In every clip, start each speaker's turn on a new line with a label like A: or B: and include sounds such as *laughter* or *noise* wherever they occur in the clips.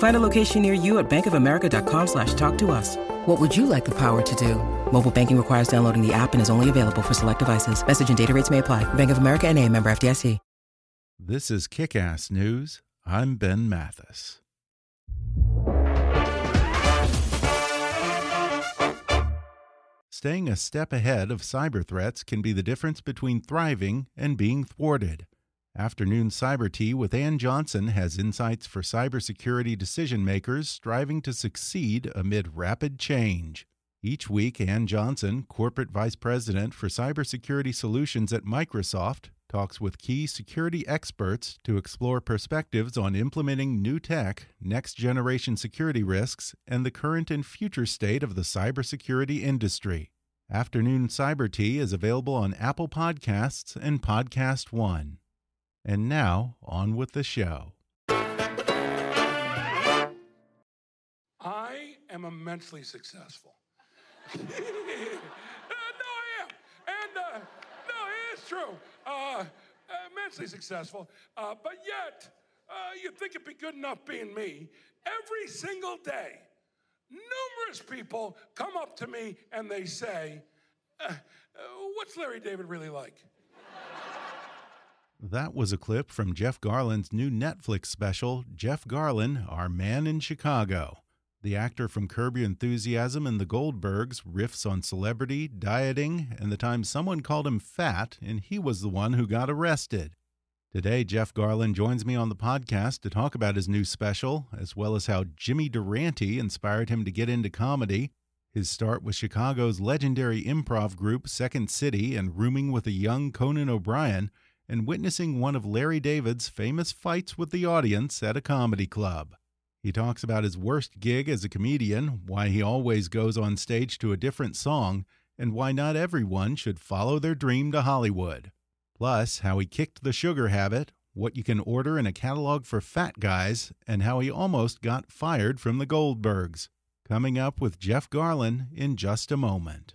A: Find a location near you at bankofamerica.com slash talk to us. What would you like the power to do? Mobile banking requires downloading the app and is only available for select devices. Message and data rates may apply. Bank of America and a member FDIC.
B: This is Kick Ass News. I'm Ben Mathis. Staying a step ahead of cyber threats can be the difference between thriving and being thwarted. Afternoon Cyber Tea with Ann Johnson has insights for cybersecurity decision makers striving to succeed amid rapid change. Each week, Ann Johnson, Corporate Vice President for Cybersecurity Solutions at Microsoft, talks with key security experts to explore perspectives on implementing new tech, next generation security risks, and the current and future state of the cybersecurity industry. Afternoon Cyber Tea is available on Apple Podcasts and Podcast One. And now, on with the show.
C: I am immensely successful. *laughs* Uh, no, I am. And uh, no, it is true. Uh, immensely successful. Uh, but yet, uh, you'd think it'd be good enough being me. Every single day, numerous people come up to me and they say, uh, uh, What's Larry David really like?
B: That was a clip from Jeff Garland's new Netflix special, Jeff Garland, Our Man in Chicago. The actor from Curb Your Enthusiasm and The Goldbergs riffs on celebrity, dieting, and the time someone called him fat and he was the one who got arrested. Today, Jeff Garland joins me on the podcast to talk about his new special, as well as how Jimmy Durante inspired him to get into comedy. His start with Chicago's legendary improv group Second City and rooming with a young Conan O'Brien, and witnessing one of Larry David's famous fights with the audience at a comedy club. He talks about his worst gig as a comedian, why he always goes on stage to a different song, and why not everyone should follow their dream to Hollywood. Plus, how he kicked the sugar habit, what you can order in a catalog for fat guys, and how he almost got fired from the Goldbergs. Coming up with Jeff Garland in just a moment.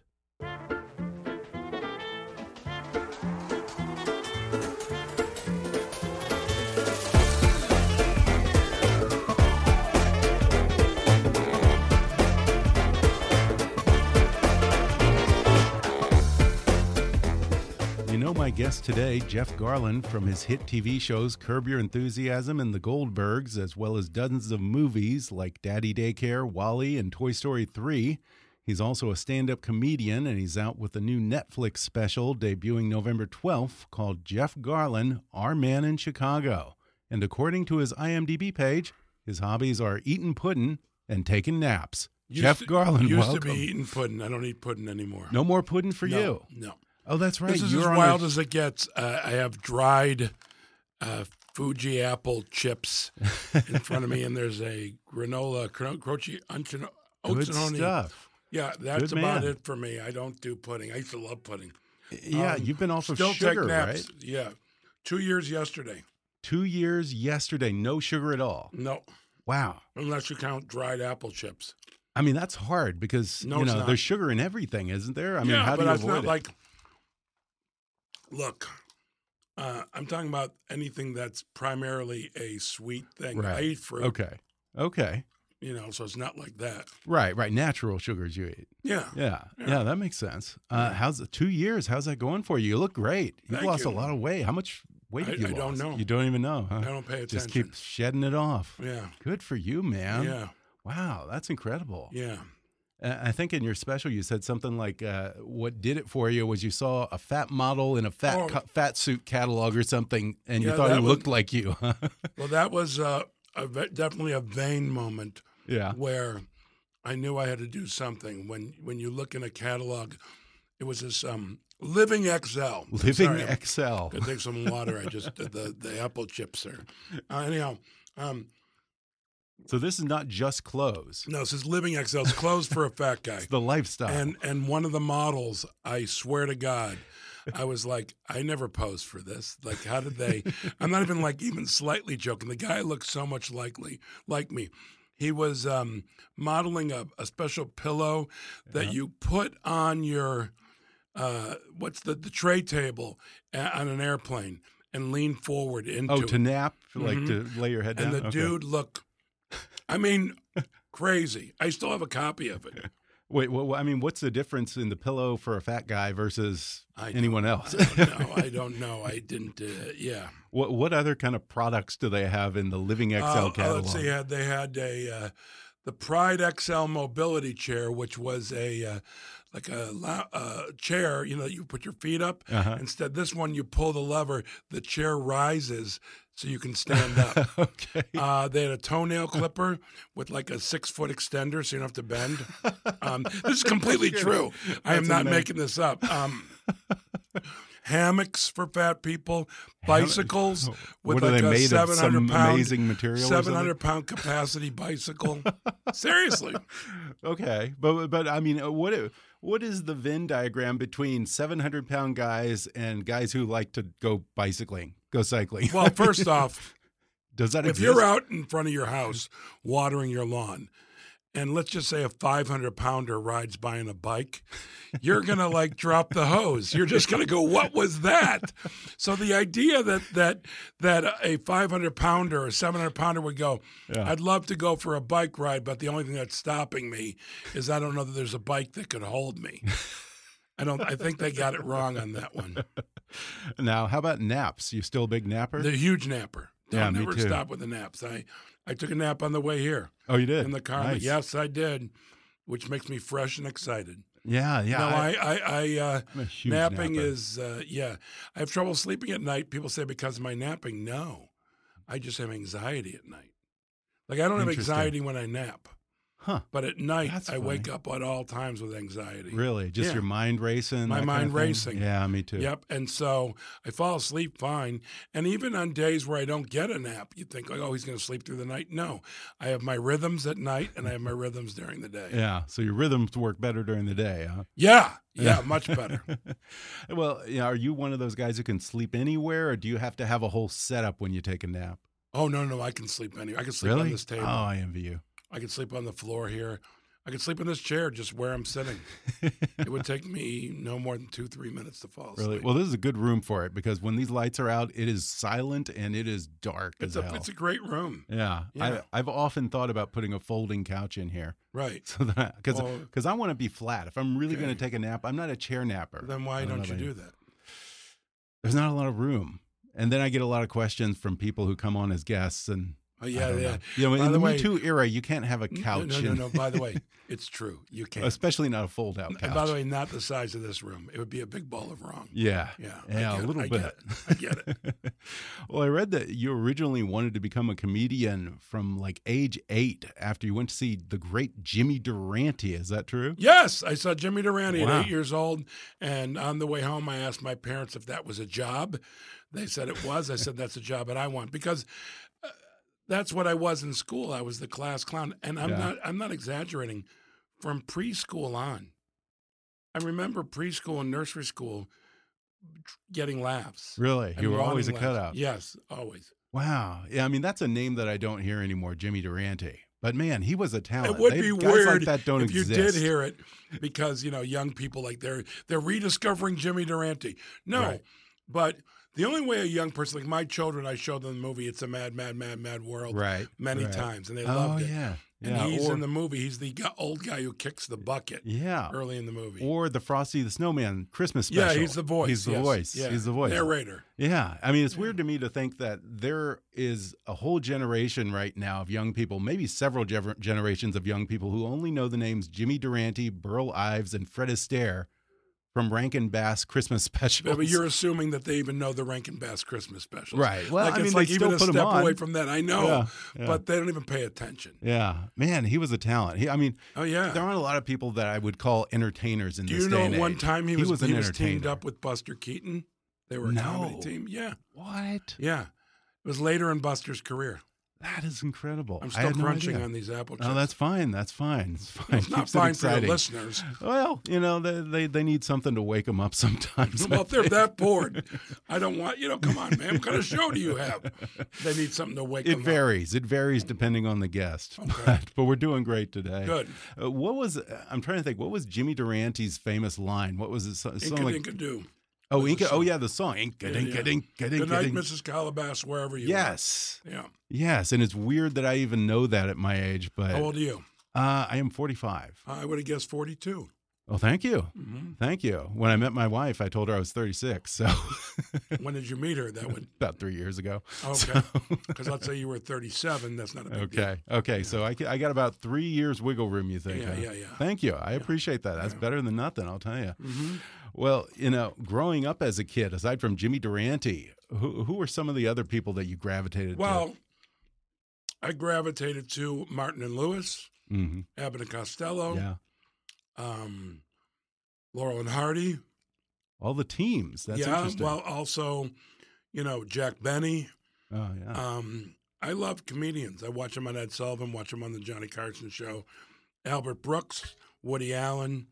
B: You know my guest today, Jeff Garland, from his hit TV shows Curb Your Enthusiasm and The Goldbergs, as well as dozens of movies like Daddy Daycare, Wally, and Toy Story 3. He's also a stand up comedian, and he's out with a new Netflix special debuting November 12th called Jeff Garland, Our Man in Chicago. And according to his IMDb page, his hobbies are eating pudding and taking naps.
C: Used
B: Jeff
C: to-
B: Garland,
C: used
B: welcome.
C: to be eating pudding. I don't eat pudding anymore.
B: no more pudding for
C: No,
B: you.
C: No.
B: Oh, that's right.
C: This is
B: You're
C: as
B: on a-
C: wild as it gets. Uh, I have dried uh, Fuji apple
B: *laughs*
C: chips in front of me, and there's a granola cro- croci uncino-
B: Good
C: oxinone.
B: stuff.
C: Yeah, that's
B: Good
C: about
B: man.
C: it for me. I don't do pudding. I used to love pudding.
B: Yeah,
C: Um,
B: you've been off of
C: Still
B: sugar,
C: take naps.
B: right?
C: Yeah, two years yesterday.
B: Two years yesterday, no sugar at all.
C: No,
B: Wow.
C: unless you count dried apple chips.
B: I mean, that's hard because
C: No,
B: you
C: it's
B: know
C: not.
B: there's sugar in everything, isn't there? I mean,
C: yeah,
B: how
C: but
B: do you
C: it's
B: avoid
C: not
B: it?
C: like. Look, uh, I'm talking about anything that's primarily a sweet thing. I eat fruit.
B: Okay. Okay.
C: you know, so it's not like that.
B: Right. Right. Natural sugars you eat.
C: Yeah.
B: Yeah. Yeah.
C: Yeah.
B: that makes sense. Uh, how's the two years? How's that going for you? You look great. You've
C: Thank
B: lost a
C: you.
B: lot of weight. How much weight
C: I-
B: have you
C: I
B: lost?
C: don't know.
B: You don't even know. Huh?
C: I don't pay
B: Just keep
C: attention.
B: shedding it off.
C: Yeah.
B: Good for you, man.
C: Yeah.
B: Wow, that's incredible.
C: Yeah.
B: Uh, I think in your special you said something like, uh, "What did it for you was you saw a fat model in a fat
C: Oh.
B: co- fat suit catalog or something, and you
C: Yeah,
B: thought
C: that
B: he
C: was-
B: looked like you." *laughs*
C: Well, that was uh, a ve- definitely a vain moment
B: yeah,
C: where I knew I had to do something. When when you look in a catalog, it was this um, Living XL.
B: living
C: Sorry, I'm-
B: Excel.
C: Could take some water. I just did the, the apple chips there. Uh, anyhow, um,
B: So this is not just clothes;
C: no, this is Living XL. It's closed for a fat guy.
B: it's the lifestyle.
C: and and one of the models i swear to god i was like i never posed for this like how did
B: *laughs*
C: they i'm not even like even slightly joking the guy looked so much likely like me he was um, modeling a, a special pillow that you put on your uh, what's the, the tray table a- on an airplane and lean forward into
B: oh,
C: it.
B: to nap, like
C: Mhm.
B: to lay your head
C: and
B: down.
C: the
B: Okay.
C: dude looked i mean crazy i still have a copy of it
B: Wait, well, I mean, what's the difference in the pillow for a fat guy versus
C: I don't-
B: anyone else?
C: no, I don't know. I didn't. Uh, yeah.
B: *laughs* what what other kind of products do they have in the Living XL
C: Uh, uh,
B: catalog?
C: let's see. Had they had a uh, the Pride XL mobility chair, which was a uh, like a lou- uh, chair. You know, you put your feet up.
B: Uh-huh.
C: Instead, this one you pull the lever, the chair rises so you can
B: *laughs*
C: stand up.
B: okay.
C: Uh, they had a toenail clipper with like a six foot extender, so you don't have to bend. Um,
B: *laughs*
C: this is completely true. I am
B: That's
C: not
B: amazing.
C: making this up. Um, hammocks for fat people, bicycles
B: oh,
C: with
B: what
C: like
B: are they
C: a
B: made of?
C: seven
B: Some
C: hundred pound,
B: amazing material. or something?
C: seven hundred pound
B: *laughs*
C: capacity bicycle. Seriously,
B: Okay, but but I mean, uh, what i- what is the Venn diagram between seven hundred pound guys and guys who like to go bicycling, go cycling?
C: well,
B: *laughs*
C: first off,
B: Does that
C: if
B: exist?
C: you're out in front of your house watering your lawn and let's just say a 500 pounder rides by on a bike you're gonna like *laughs* drop the hose you're just gonna go what was that so the idea that that that a 500 pounder or 700 pounder would go i'd love to go for a bike ride but the only thing that's stopping me is i don't know that there's a bike that could hold
B: *laughs*
C: me i don't i think they got it wrong on that one
B: now, how about naps? You still a big napper?
C: the huge napper I'll
B: Yeah, me
C: never
B: too.
C: stop with the naps i i took a nap on the way here
B: oh, you did
C: in the car.
B: Nice.
C: Yes, I did, which makes me fresh and excited.
B: yeah, yeah.
C: no,
B: I,
C: I, I, I uh,
B: am a huge
C: napping
B: napper.
C: is, uh, yeah. I have trouble sleeping at night. People say because of my napping. No, I just have anxiety at night. Like I don't have
B: Interesting.
C: anxiety when I nap,
B: huh?
C: but at night
B: That's
C: I wake up at all times with anxiety.
B: Really, just
C: Yeah.
B: your mind racing.
C: My
B: that kind of
C: mind
B: thing?
C: racing.
B: Yeah, me too.
C: Yep. And so I fall asleep fine. And even on days where I don't get a nap, you think like, oh, he's going to sleep through the night. No, I have my rhythms at night and I have my rhythms during the day.
B: Yeah, so your rhythms work better during the day, huh? *laughs*
C: Yeah, yeah, much better.
B: Well, you know, are you one of those guys who can sleep anywhere, or do you have to have a whole setup when you take a nap?
C: Oh no, no, I can sleep anywhere. I can sleep on
B: really?
C: this table.
B: Oh, I envy you.
C: I can sleep on the floor here. I can sleep in this chair, just where I'm
B: *laughs*
C: sitting. it would take me no more than two, three minutes to fall asleep.
B: Really? Well, this is a good room for it because when these lights are out, it is silent and it is dark
C: it's
B: as
C: a
B: hell.
C: it's a great room,
B: yeah,
C: Yeah.
B: I, I've often thought about putting a folding couch in here, *laughs*
C: right?
B: so that because
C: Well-
B: because I want to be flat. If I'm really
C: Okay.
B: going to take a nap, I'm not a chair napper.
C: Then why
B: I know
C: don't
B: if
C: you
B: I-
C: do that?
B: There's not a lot of room, and then I get a lot of questions from people who come on as guests, and
C: Oh
B: I
C: yeah,
B: don't
C: yeah.
B: know. You know,
C: By
B: in the
C: the way-
B: Me Too era, you can't have a
C: N-
B: couch,
C: No, no, no.
B: in-
C: no. By the way, it's true. You can't.
B: *laughs* especially not a fold out
C: N-
B: couch.
C: and by the way, not the size of this room. It would be a big ball of wrong.
B: Yeah.
C: Yeah, I
B: Yeah,
C: get
B: a
C: it,
B: little
C: I
B: bit.
C: get it, I get
B: it. *laughs* well, I read that you originally wanted to become a comedian from like age eight after you went to see the great Jimmy Durante. Is that true?
C: Yes, I saw Jimmy Durante
B: Wow.
C: at eight years old, and on the way home, I asked my parents if that was a job. They said it was. I said that's a job that I want because uh, that's what I was in school. I was the class clown, and I'm
B: Yeah.
C: not. I'm not exaggerating. From preschool on, I remember preschool and nursery school getting laughs.
B: Really?
C: and
B: You were always a
C: wanting laughs.
B: cutout.
C: Yes, always.
B: Wow. Yeah. I mean, that's a name that I don't hear anymore, Jimmy Durante. But man, he was a talent.
C: It would
B: They-
C: be
B: guys
C: weird
B: like that don't
C: if you
B: exist.
C: did hear it, because you know young people like they're they're rediscovering Jimmy Durante. No,
B: Right.
C: but the only way a young person like my children, I showed them the movie "It's a Mad, Mad, Mad, Mad World"
B: Right.
C: many
B: right.
C: times, and they
B: Oh
C: loved it.
B: yeah.
C: And
B: Yeah,
C: he's
B: or-
C: in the movie. He's the gu- old guy who kicks the bucket
B: Yeah.
C: early in the movie.
B: Or the Frosty the Snowman Christmas
C: yeah,
B: special.
C: he's the voice.
B: He's the
C: yes,
B: voice.
C: yeah.
B: He's the voice.
C: Narrator.
B: Yeah. I mean, it's weird to me to think that there is a whole generation right now of young people, maybe several gener- generations of young people who only know the names Jimmy Durante, Burl Ives, and Fred Astaire from Rankin Bass Christmas *laughs* specials.
C: But but you're assuming that they even know the Rankin Bass Christmas specials.
B: Right. Well, I
C: like, it's
B: mean, they
C: like
B: still
C: even a
B: put 'em
C: step
B: on.
C: away from that. I know,
B: Yeah, yeah.
C: but they don't even pay attention.
B: yeah. Man, he was a talent. He, I mean,
C: Oh yeah.
B: there aren't a lot of people that I would call entertainers in
C: Do
B: this
C: you
B: day
C: know
B: and
C: at one
B: age.
C: time he, was,
B: an
C: he was teamed
B: entertainer.
C: up with Buster Keaton? They were a
B: No.
C: comedy team. Yeah,
B: What?
C: yeah. It was later in Buster's career.
B: That is incredible.
C: I'm
B: I
C: still
B: had no
C: crunching
B: idea.
C: on these apple chips.
B: Oh, that's fine. That's fine. It's fine.
C: it's not
B: Keeps it
C: fine for your
B: exciting.
C: listeners.
B: Well, you know, they, they, they need something to wake them up *laughs* sometimes.
C: *laughs* Well,
B: *laughs*
C: if they're that bored, I don't want you know. Come on, man. What kind of show do you have? They need something to wake
B: it
C: them
B: varies. It varies depending on the guest. *laughs* But, but we're doing great today.
C: Good.
B: Uh, what was, I'm trying to think, what was Jimmy Durante's famous line? What was it? So-
C: up.
B: Something like,
C: Inka do.
B: oh,
C: was a
B: Inca. Oh,
C: song.
B: yeah, the song. Inca,
C: Yeah,
B: dinka,
C: yeah.
B: dinka, dinka,
C: Good night,
B: dinka.
C: Mrs. Calabas, wherever you are.
B: Yes.
C: Yeah.
B: Yes. And it's weird that I even know that at my age, but
C: How old are you?
B: uh, I am 45.
C: I would have guessed 42.
B: Oh, thank you.
C: Mhm.
B: Thank you. When I met my wife, I told her I was 36. So *laughs*
C: When did you meet her? That would
B: about three years ago.
C: okay. Because let's say you were 37. That's not a big deal.
B: Okay. Okay. So I, ca- I got about three years wiggle room, you think?
C: Yeah,
B: huh?
C: yeah, yeah. Mm-hmm.
B: Thank you. I appreciate that. That's better than nothing, I'll tell you. Well, you know, growing up as a kid, aside from Jimmy Durante, who, who were some of the other people that you gravitated
C: Well, I gravitated to Martin and Lewis,
B: to? Mhm.
C: Abbott and Costello,
B: Yeah.
C: um, Laurel and Hardy.
B: All the teams. That's
C: yeah.
B: interesting.
C: Well, also, you know, Jack Benny.
B: oh, yeah.
C: Um, I love comedians. I watch them on Ed Sullivan, watch them on the Johnny Carson show. Albert Brooks, Woody Allen,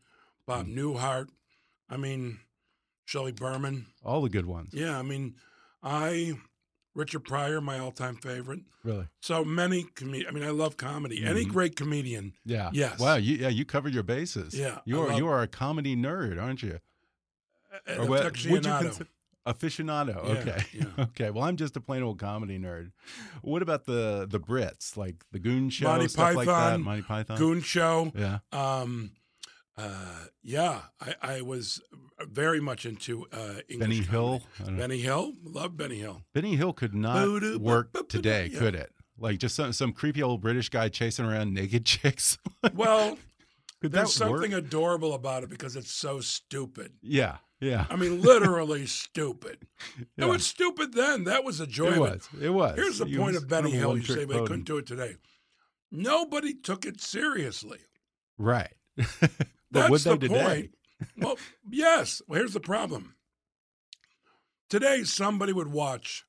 C: Bob
B: Hmm.
C: Newhart. I mean, Shelley Berman.
B: All the good ones.
C: Yeah, I mean, I Richard Pryor, my all-time favorite.
B: Really?
C: So many comedians. I mean, I love comedy. Any
B: Mhm.
C: great comedian.
B: Yeah.
C: Yes.
B: Wow. You, yeah. You covered your bases.
C: Yeah,
B: You
C: I
B: are,
C: love-
B: you are a comedy nerd, aren't you?
C: an
B: Or what- Uh, would you
C: aficionado.
B: consider- aficionado?
C: Yeah,
B: Okay.
C: yeah.
B: *laughs* Okay. Well, I'm just a plain old comedy nerd. What about the the Brits, like the Goon Show,
C: Monty
B: stuff like that?
C: Python,
B: Monty Python.
C: Goon Show.
B: Yeah.
C: Um, uh, yeah, I, I was very much into uh, English
B: Benny Hill. Mm.
C: comedy.
B: I don't-
C: Benny Hill, love
B: *laughs*
C: Benny Hill.
B: Benny Hill could not
C: Boo-doo, boo-boo,
B: work today,
C: yeah.
B: could it? Like just some, some creepy old British guy chasing around naked *laughs* chicks.
C: Well,
B: could that
C: there's something
B: work?
C: adorable about it because it's so stupid.
B: yeah. Yeah.
C: I mean, literally
B: *laughs*
C: stupid. It
B: Yeah.
C: was stupid then. That was the joy
B: it
C: of
B: was. It was.
C: Here's the
B: He
C: point
B: was
C: of Benny
B: kind a
C: Hill. You
B: one-trick
C: say they
B: pony.
C: couldn't do it today. Nobody took it seriously.
B: *laughs* Right. *laughs* but
C: That's
B: would they
C: the
B: today?
C: point. well, yes. Well, here's the problem. Today, somebody would watch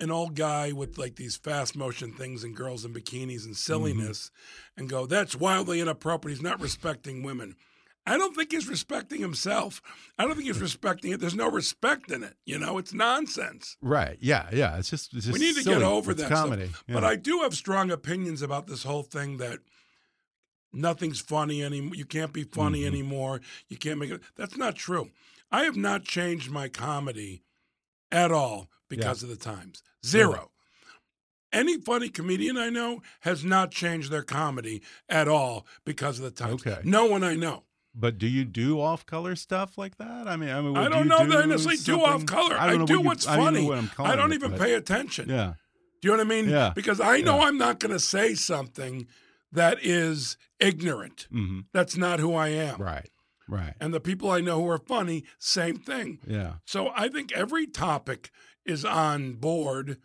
C: an old guy with like these fast motion things and girls in bikinis and silliness and go, that's wildly inappropriate. He's not respecting women. I don't think he's respecting himself. I don't think he's respecting it. There's no respect in it. You know, it's nonsense.
B: Right. Yeah. Yeah. It's just. It's just
C: we need to
B: silly.
C: get over
B: It's
C: that stuff.
B: comedy.
C: But
B: Yeah.
C: I do have strong opinions about this whole thing that nothing's funny anymore. You can't be funny
B: Mm-hmm.
C: anymore. You can't make it. That's not true. I have not changed my comedy at all because of the times. Zero. Any funny comedian I know has not changed their comedy at all because of the times.
B: Okay.
C: No one I know.
B: But do you do off color stuff like that? I mean, I mean,
C: I
B: would
C: don't
B: you
C: know
B: do
C: that I necessarily do off
B: something-
C: color.
B: I,
C: I,
B: don't know
C: do
B: what you-
C: what's
B: I don't
C: funny.
B: even know what I'm calling
C: I don't
B: it,
C: even
B: but-
C: pay attention.
B: Yeah,
C: Do you know what I mean?
B: Yeah.
C: Because I know
B: Yeah.
C: I'm not going to say something that is ignorant.
B: hmm
C: That's not who I am.
B: right, right.
C: And the people I know who are funny, same thing.
B: Yeah,
C: So I think every topic is on board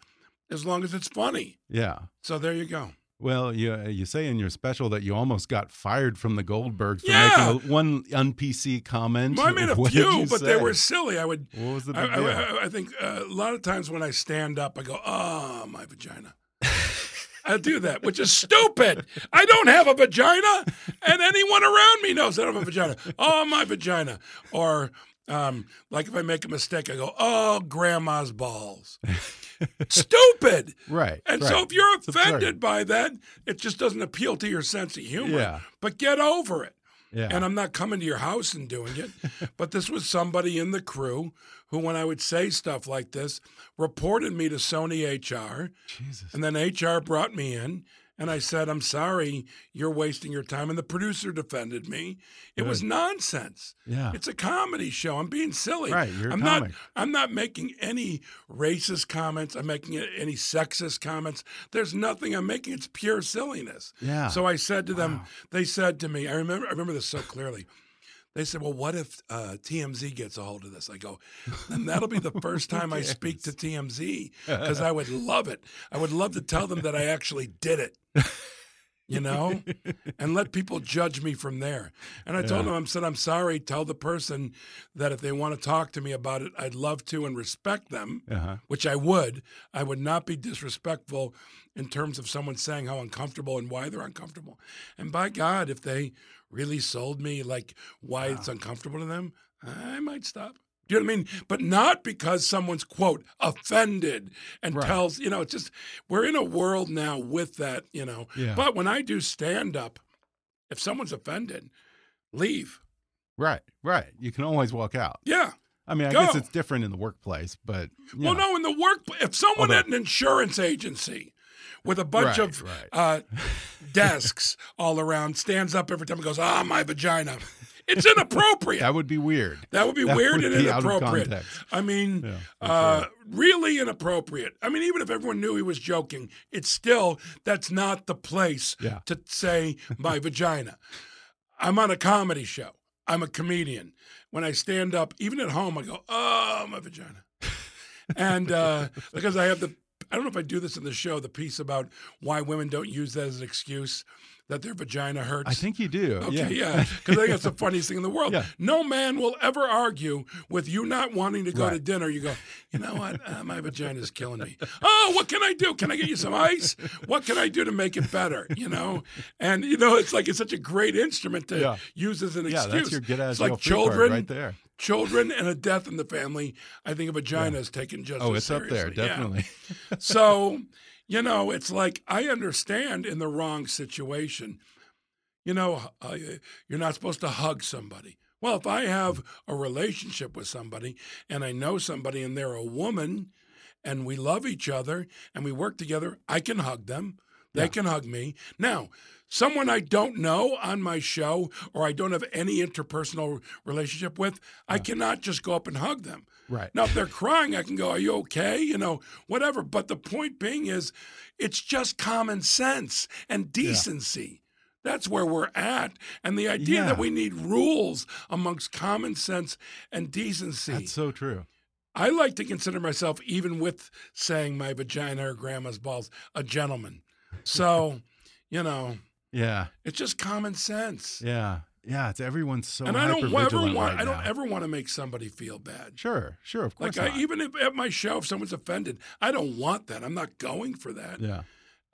C: as long as it's funny.
B: yeah.
C: So there you go.
B: Well, you you say in your special that you almost got fired from the Goldbergs for
C: Yeah.
B: making a, one unpc comment.
C: I made
B: *laughs*
C: a
B: What did
C: few,
B: you
C: but they
B: say?
C: were silly. I would.
B: What was the
C: I,
B: big deal?
C: I- I- I think uh, a lot of times when I stand up, I go, "Ah, my vagina." I do that, which is stupid. I don't have a vagina, and anyone around me knows I don't have a vagina. Oh, my vagina. Or, um, like, if I make a mistake, I go, "Oh, grandma's balls." stupid.
B: right.
C: And
B: right.
C: so, if you're
B: It's absurd.
C: offended by that, it just doesn't appeal to your sense of humor.
B: Yeah.
C: But get over it.
B: yeah,
C: And I'm not coming to your house and doing
B: *laughs*
C: it. but this was somebody in the crew who, when I would say stuff like this, reported me to Sony HR.
B: Jesus,
C: And then HR brought me in And I said, I'm sorry, you're wasting your time. And the producer defended me. It was nonsense.
B: Yeah.
C: It's a comedy show. I'm being silly.
B: Right, you're a
C: I'm not
B: comic.
C: I'm not making any racist comments. I'm making any sexist comments. There's nothing I'm making. It's pure silliness.
B: Yeah.
C: So I said to them, they said to me, I remember I remember this so clearly. They said, "Well, what if uh, TMZ gets a hold of this?" I go, "Then that'll
B: *laughs*
C: be the first time I speak to TMZ because I would love it. I would love to tell them that I actually did it, you know, and let people judge me from there." And I told them, "I said I'm sorry. Tell the person that if they want to talk to me about it, I'd love to and respect them,
B: Uh-huh.
C: which I would. I would not be disrespectful in terms of someone saying how uncomfortable and why they're uncomfortable. And by God, if they really sold me like why it's
B: Ah.
C: uncomfortable to them, I might stop. Do you know what I mean? But not because someone's quote offended and
B: Right.
C: tells you know it's just we're in a world now with that you know.
B: Yeah.
C: But when I do stand up, if someone's offended, leave.
B: Right, right. You can always walk out.
C: Yeah.
B: I mean, I
C: Go.
B: guess it's different in the workplace, but you
C: Well,
B: know.
C: no, in the work, if someone
B: Although-
C: at an insurance agency with a bunch
B: Right,
C: of
B: right. *laughs*
C: Uh, desks all around stands up every time and goes, "Ah, my vagina," it's
B: *laughs*
C: inappropriate.
B: that would be weird.
C: That would be
B: That
C: weird
B: would
C: and
B: be out of
C: inappropriate.
B: context.
C: I mean,
B: Yeah, that's
C: uh, really inappropriate. I mean, even if everyone knew he was joking, it's still that's not the place
B: Yeah.
C: to say
B: *laughs*
C: my vagina. I'm on a comedy show. I'm a comedian. When I stand up, even at home, I go, "Oh, my vagina,"
B: *laughs*
C: and uh, because I have the. I don't know if I do this in the show, the piece about why women don't use that as an excuse that their vagina hurts.
B: I think you do.
C: Okay,
B: yeah.
C: yeah, because I
B: *laughs*
C: think that's the funniest thing in the world.
B: Yeah.
C: No man will ever argue with you not wanting to go to
B: Right.
C: dinner. You go, you know what? Uh, my vagina's killing me. Oh, what can I do? Can I get you some ice? What can I do to make it better? You know, and you know, it's like it's such a great instrument to
B: Yeah.
C: use as an
B: Yeah,
C: excuse.
B: that's your get out of
C: it's
B: jail
C: like
B: free card
C: children,
B: right there.
C: children, and a death in the family. I think a vagina is taken just.
B: Oh,
C: as
B: it's up there,
C: seriously. Yeah. *laughs*
B: definitely.
C: So, you know, it's like I understand in the wrong situation. You know, uh, you're not supposed to hug somebody. Well, if I have a relationship with somebody and I know somebody and they're a woman and we love each other and we work together, I can hug them. They can hug me. Now, someone I don't know on my show or I don't have any interpersonal relationship with, I cannot just go up and hug them.
B: Right.
C: Now, if they're crying, I can go, Are you okay? You know, whatever. But the point being is, it's just common sense and decency. That's where we're at. And the idea
B: Yeah.
C: that we need rules amongst common sense and decency.
B: That's so true.
C: I like to consider myself, even with saying my vagina or grandma's balls, a gentleman. So,
B: *laughs*
C: you know,
B: Yeah,
C: it's just common sense.
B: yeah, yeah. It's everyone's so.
C: and I don't ever
B: hyper-vigilant
C: want
B: right
C: I don't
B: now.
C: ever want to make somebody feel bad.
B: Sure, sure. Of course
C: Like I,
B: not.
C: even if at my show, if someone's offended, I don't want that. I'm not going for that.
B: yeah,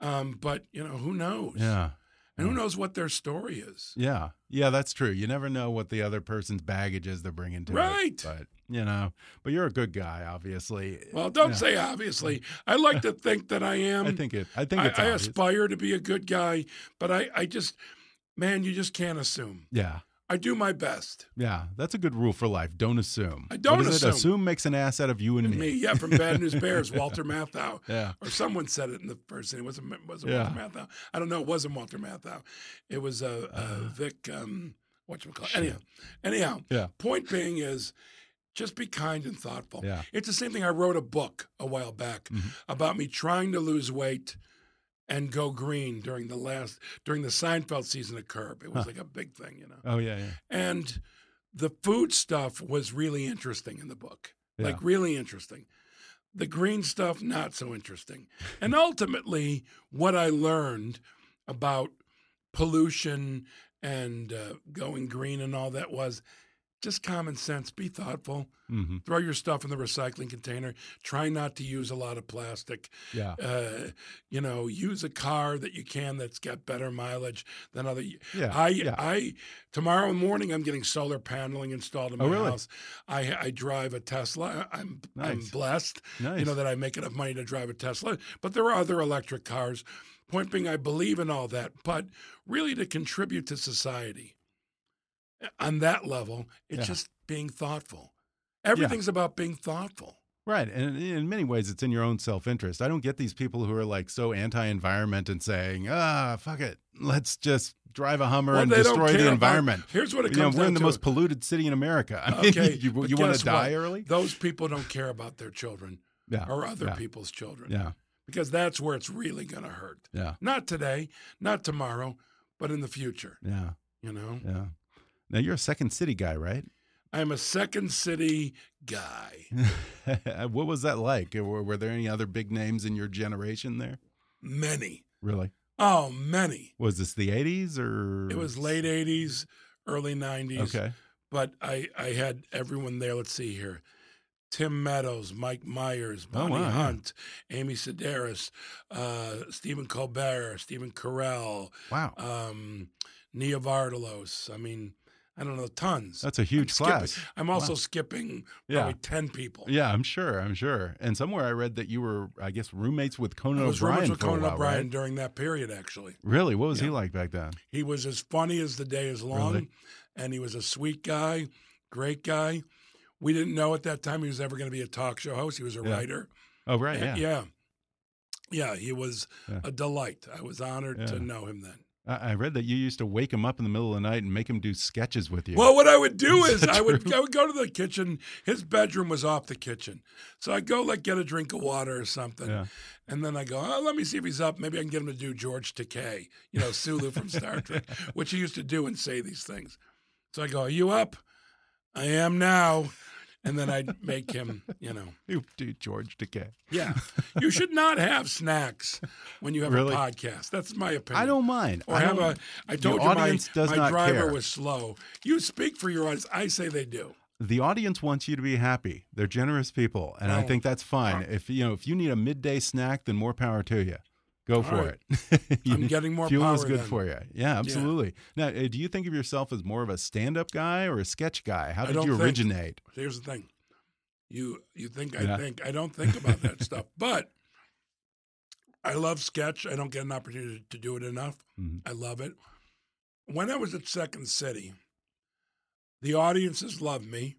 C: Um, but you know, who knows?
B: yeah.
C: And who knows what their story is?
B: Yeah, yeah, that's true. You never know what the other person's baggage is they're bringing to it,
C: Right.
B: But you know, but you're a good guy, obviously.
C: Well, don't
B: Yeah.
C: say obviously. I like to think that I am.
B: I think it. I think it's.
C: I,
B: obvious.
C: aspire to be a good guy, but I, I just, man, you just can't assume.
B: yeah,
C: I do my best.
B: yeah. That's a good rule for life. Don't assume.
C: I don't
B: What is
C: assume.
B: It? Assume makes an ass out of you and me.
C: Me, yeah, from Bad News Bears, Walter Matthau.
B: Yeah.
C: Or someone said it in the first thing. It wasn't, it wasn't
B: Yeah.
C: Walter Matthau. I don't know. It wasn't Walter Matthau. It was uh, uh,
B: Uh-huh.
C: Vic, um, whatchamacallit. Anyhow, anyhow
B: Yeah.
C: point being is just be kind and thoughtful.
B: Yeah. Mm-hmm.
C: It's the same thing. I wrote a book a while back about me trying to lose weight and go green during the last, during the Seinfeld season of Curb. It was like a big thing, you know.
B: Oh yeah, yeah.
C: And the food stuff was really interesting in the book,
B: Yeah.
C: like really interesting. The green stuff, not so interesting. And ultimately, what I learned about pollution and uh, going green and all that was just common sense. Be thoughtful.
B: Mm-hmm.
C: Throw your stuff in the recycling container. Try not to use a lot of plastic
B: Yeah.
C: uh, you know, use a car that you can that's got better mileage than other.
B: Yeah,
C: I,
B: yeah.
C: I, tomorrow morning I'm getting solar paneling installed in my
B: Oh, really?
C: house. I, I drive a Tesla. I- I'm, I'm
B: Nice.
C: blessed, you
B: Nice.
C: know, that I make enough money to drive a Tesla. But there are other electric cars. Point being, I believe in all that, but really to contribute to society eh, on that level, it's
B: Yeah.
C: just being thoughtful. Everything's about being thoughtful.
B: Right. And in many ways, it's in your own self interest. I don't get these people who are like so anti environment and saying, ah, fuck it. Let's just drive a Hummer
C: Well,
B: and
C: they don't
B: destroy
C: care
B: the
C: about-
B: environment.
C: here's what it
B: You know,
C: comes
B: We're in
C: down
B: the
C: to.
B: *laughs* most polluted city in America. *laughs* I mean,
C: Okay,
B: you,
C: but
B: want
C: guess
B: to die
C: what?
B: early?
C: Those people don't care about their children
B: Yeah.
C: or other
B: yeah,
C: people's children
B: Yeah.
C: because that's where it's really going to hurt.
B: Yeah.
C: Not today, not tomorrow, but in the future.
B: Yeah.
C: You know,
B: Yeah. Now, you're a second city guy, right?
C: I'm a second city guy.
B: *laughs* what was that like? Were, were there any other big names in your generation there?
C: Many,
B: Really?
C: oh, many.
B: Was this the 80s or?
C: It was late '80s, early '90s.
B: Okay.
C: but I I had everyone there. Let's see here. Tim Meadows, Mike Myers,
B: Oh, wow,
C: Bonnie
B: yeah.
C: Hunt, Amy Sedaris, uh, Stephen Colbert, Stephen Carell,
B: Wow.
C: um, Nia Vardalos. I mean, I don't know, tons.
B: That's a huge
C: skipping-
B: class.
C: I'm also skipping
B: Yeah.
C: probably 10 people.
B: Yeah, I'm sure. I'm sure. And somewhere I read that you were, I guess, roommates with Conan
C: I was
B: O'Brien.
C: roommates with
B: for a
C: Conan
B: while,
C: O'Brien
B: right?
C: during that period, actually.
B: Really? What was he
C: Yeah.
B: like back then?
C: He was as funny as the day is long,
B: Really?
C: and he was a sweet guy, great guy. We didn't know at that time he was ever going to be a talk show host. He was a
B: Yeah.
C: writer.
B: Oh, right.
C: Yeah.
B: Yeah.
C: yeah. Yeah, he was
B: Yeah.
C: a delight. I was honored
B: Yeah.
C: to know him then.
B: I, I read that you used to wake him up in the middle of the night and make him do sketches with you.
C: Well, what I would do
B: Is
C: is
B: that
C: I would
B: true?
C: I would go to the kitchen. His bedroom was off the kitchen, so I'd go like get a drink of water or something,
B: Yeah.
C: and then I go, oh, let me see if he's up. Maybe I can get him to do George Takei, you know, Sulu from Star Trek,
B: *laughs*
C: which he used to do and say these things. So I go, are you up? I am now, and then I'd make him, you know,
B: You do George Decay.
C: yeah. You should not have snacks when you have
B: Really?
C: a podcast. That's my opinion.
B: I don't mind.
C: Or
B: I
C: have a.
B: don't-
C: I
B: the
C: told you my,
B: Um, audience does
C: my
B: not
C: driver
B: care.
C: was slow. You speak for your audience. I say they do.
B: the audience wants you to be happy. They're generous people, and I
C: Oh.
B: think that's fine. If you know, if you need a midday snack, then more power to you. Go for
C: right.
B: it. *laughs* You
C: I'm
B: need-
C: getting more
B: fuel is
C: power
B: good
C: then.
B: for you. Yeah, absolutely. Now, uh, do you think of yourself as more of a stand-up guy or a sketch guy? How
C: I
B: did
C: don't
B: you
C: think-
B: originate?
C: Here's the thing. You you think
B: Yeah.
C: I think I don't think about
B: *laughs*
C: that stuff, but I love sketch. I don't get an opportunity to do it enough.
B: Mhm.
C: I love it. When I was at Second City, the audiences loved me,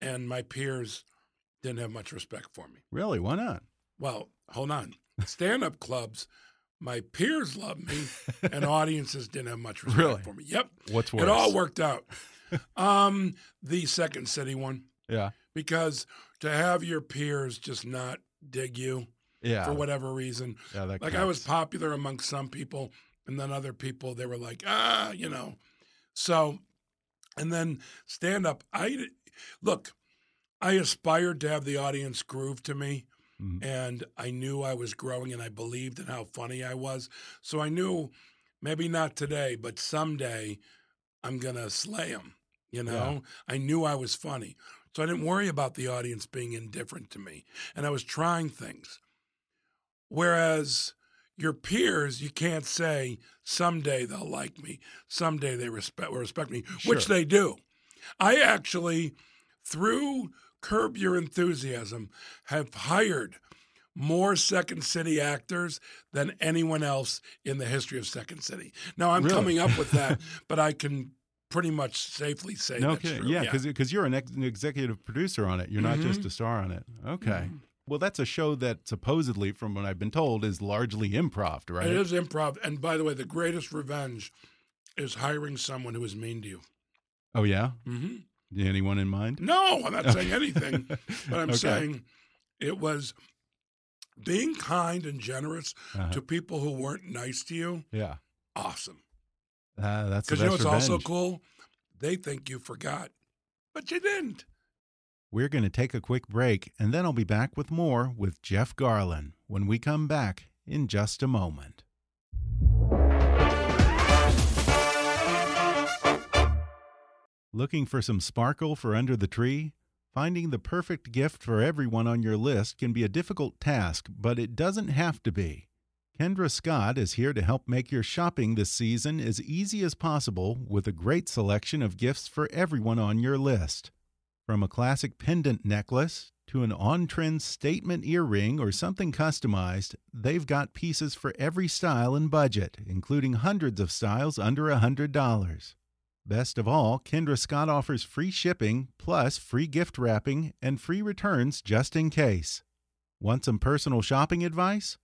C: and my peers didn't have much respect for me.
B: Really? Why not?
C: Well, hold on. Stand up clubs, my peers loved me,
B: *laughs*
C: and audiences didn't have much respect
B: Really?
C: for me. Yep.
B: What's worse?
C: It all worked out. um, the second city one,
B: Yeah.
C: because to have your peers just not dig you
B: Yeah.
C: for whatever reason.
B: Yeah, that
C: Like I was
B: counts.
C: popular among some people, and then other people, they were like, ah, you know. So, and then stand up. I look, I aspired to have the audience groove to me
B: Mhm.
C: and I knew I was growing and I believed in how funny I was. So I knew maybe not today, but someday I'm going to slay them. You
B: Yeah.
C: know, I knew I was funny. So I didn't worry about the audience being indifferent to me. And I was trying things. Whereas your peers, you can't say, someday they'll like me, someday they respect, will respect me, which
B: Sure.
C: they do. I actually, through Curb Your Enthusiasm, have hired more Second City actors than anyone else in the history of Second City. Now I'm
B: Really?
C: coming up
B: *laughs*
C: with that, but I can pretty much safely say
B: No
C: that's
B: kidding.
C: true. Mm-hmm.
B: Yeah, because you're an, ex- an executive producer on it. You're not just a star on it. Okay. Well, that's a show that supposedly, from what I've been told, is largely improv, right?
C: it is improv. And by the way, the greatest revenge is hiring someone who is mean to you.
B: Oh yeah.
C: hmm
B: Anyone in mind?
C: No, I'm not saying
B: *laughs*
C: anything, but I'm
B: Okay.
C: saying it was being kind and generous
B: Uh-huh.
C: to people who weren't nice to you.
B: Yeah.
C: Awesome.
B: Uh, that's the
C: Because you know
B: best
C: what's also
B: revenge.
C: cool? They think you forgot, but you didn't.
B: We're going to take a quick break, and then I'll be back with more with Jeff Garland when we come back in just a moment. Looking for some sparkle for under the tree? Finding the perfect gift for everyone on your list can be a difficult task, but it doesn't have to be. Kendra Scott is here to help make your shopping this season as easy as possible with a great selection of gifts for everyone on your list. From a classic pendant necklace to an on trend statement earring or something customized, they've got pieces for every style and budget, including hundreds of styles under $100. Best of all, Kendra Scott offers free shipping, plus free gift wrapping, and free returns just in case. Want some personal shopping advice?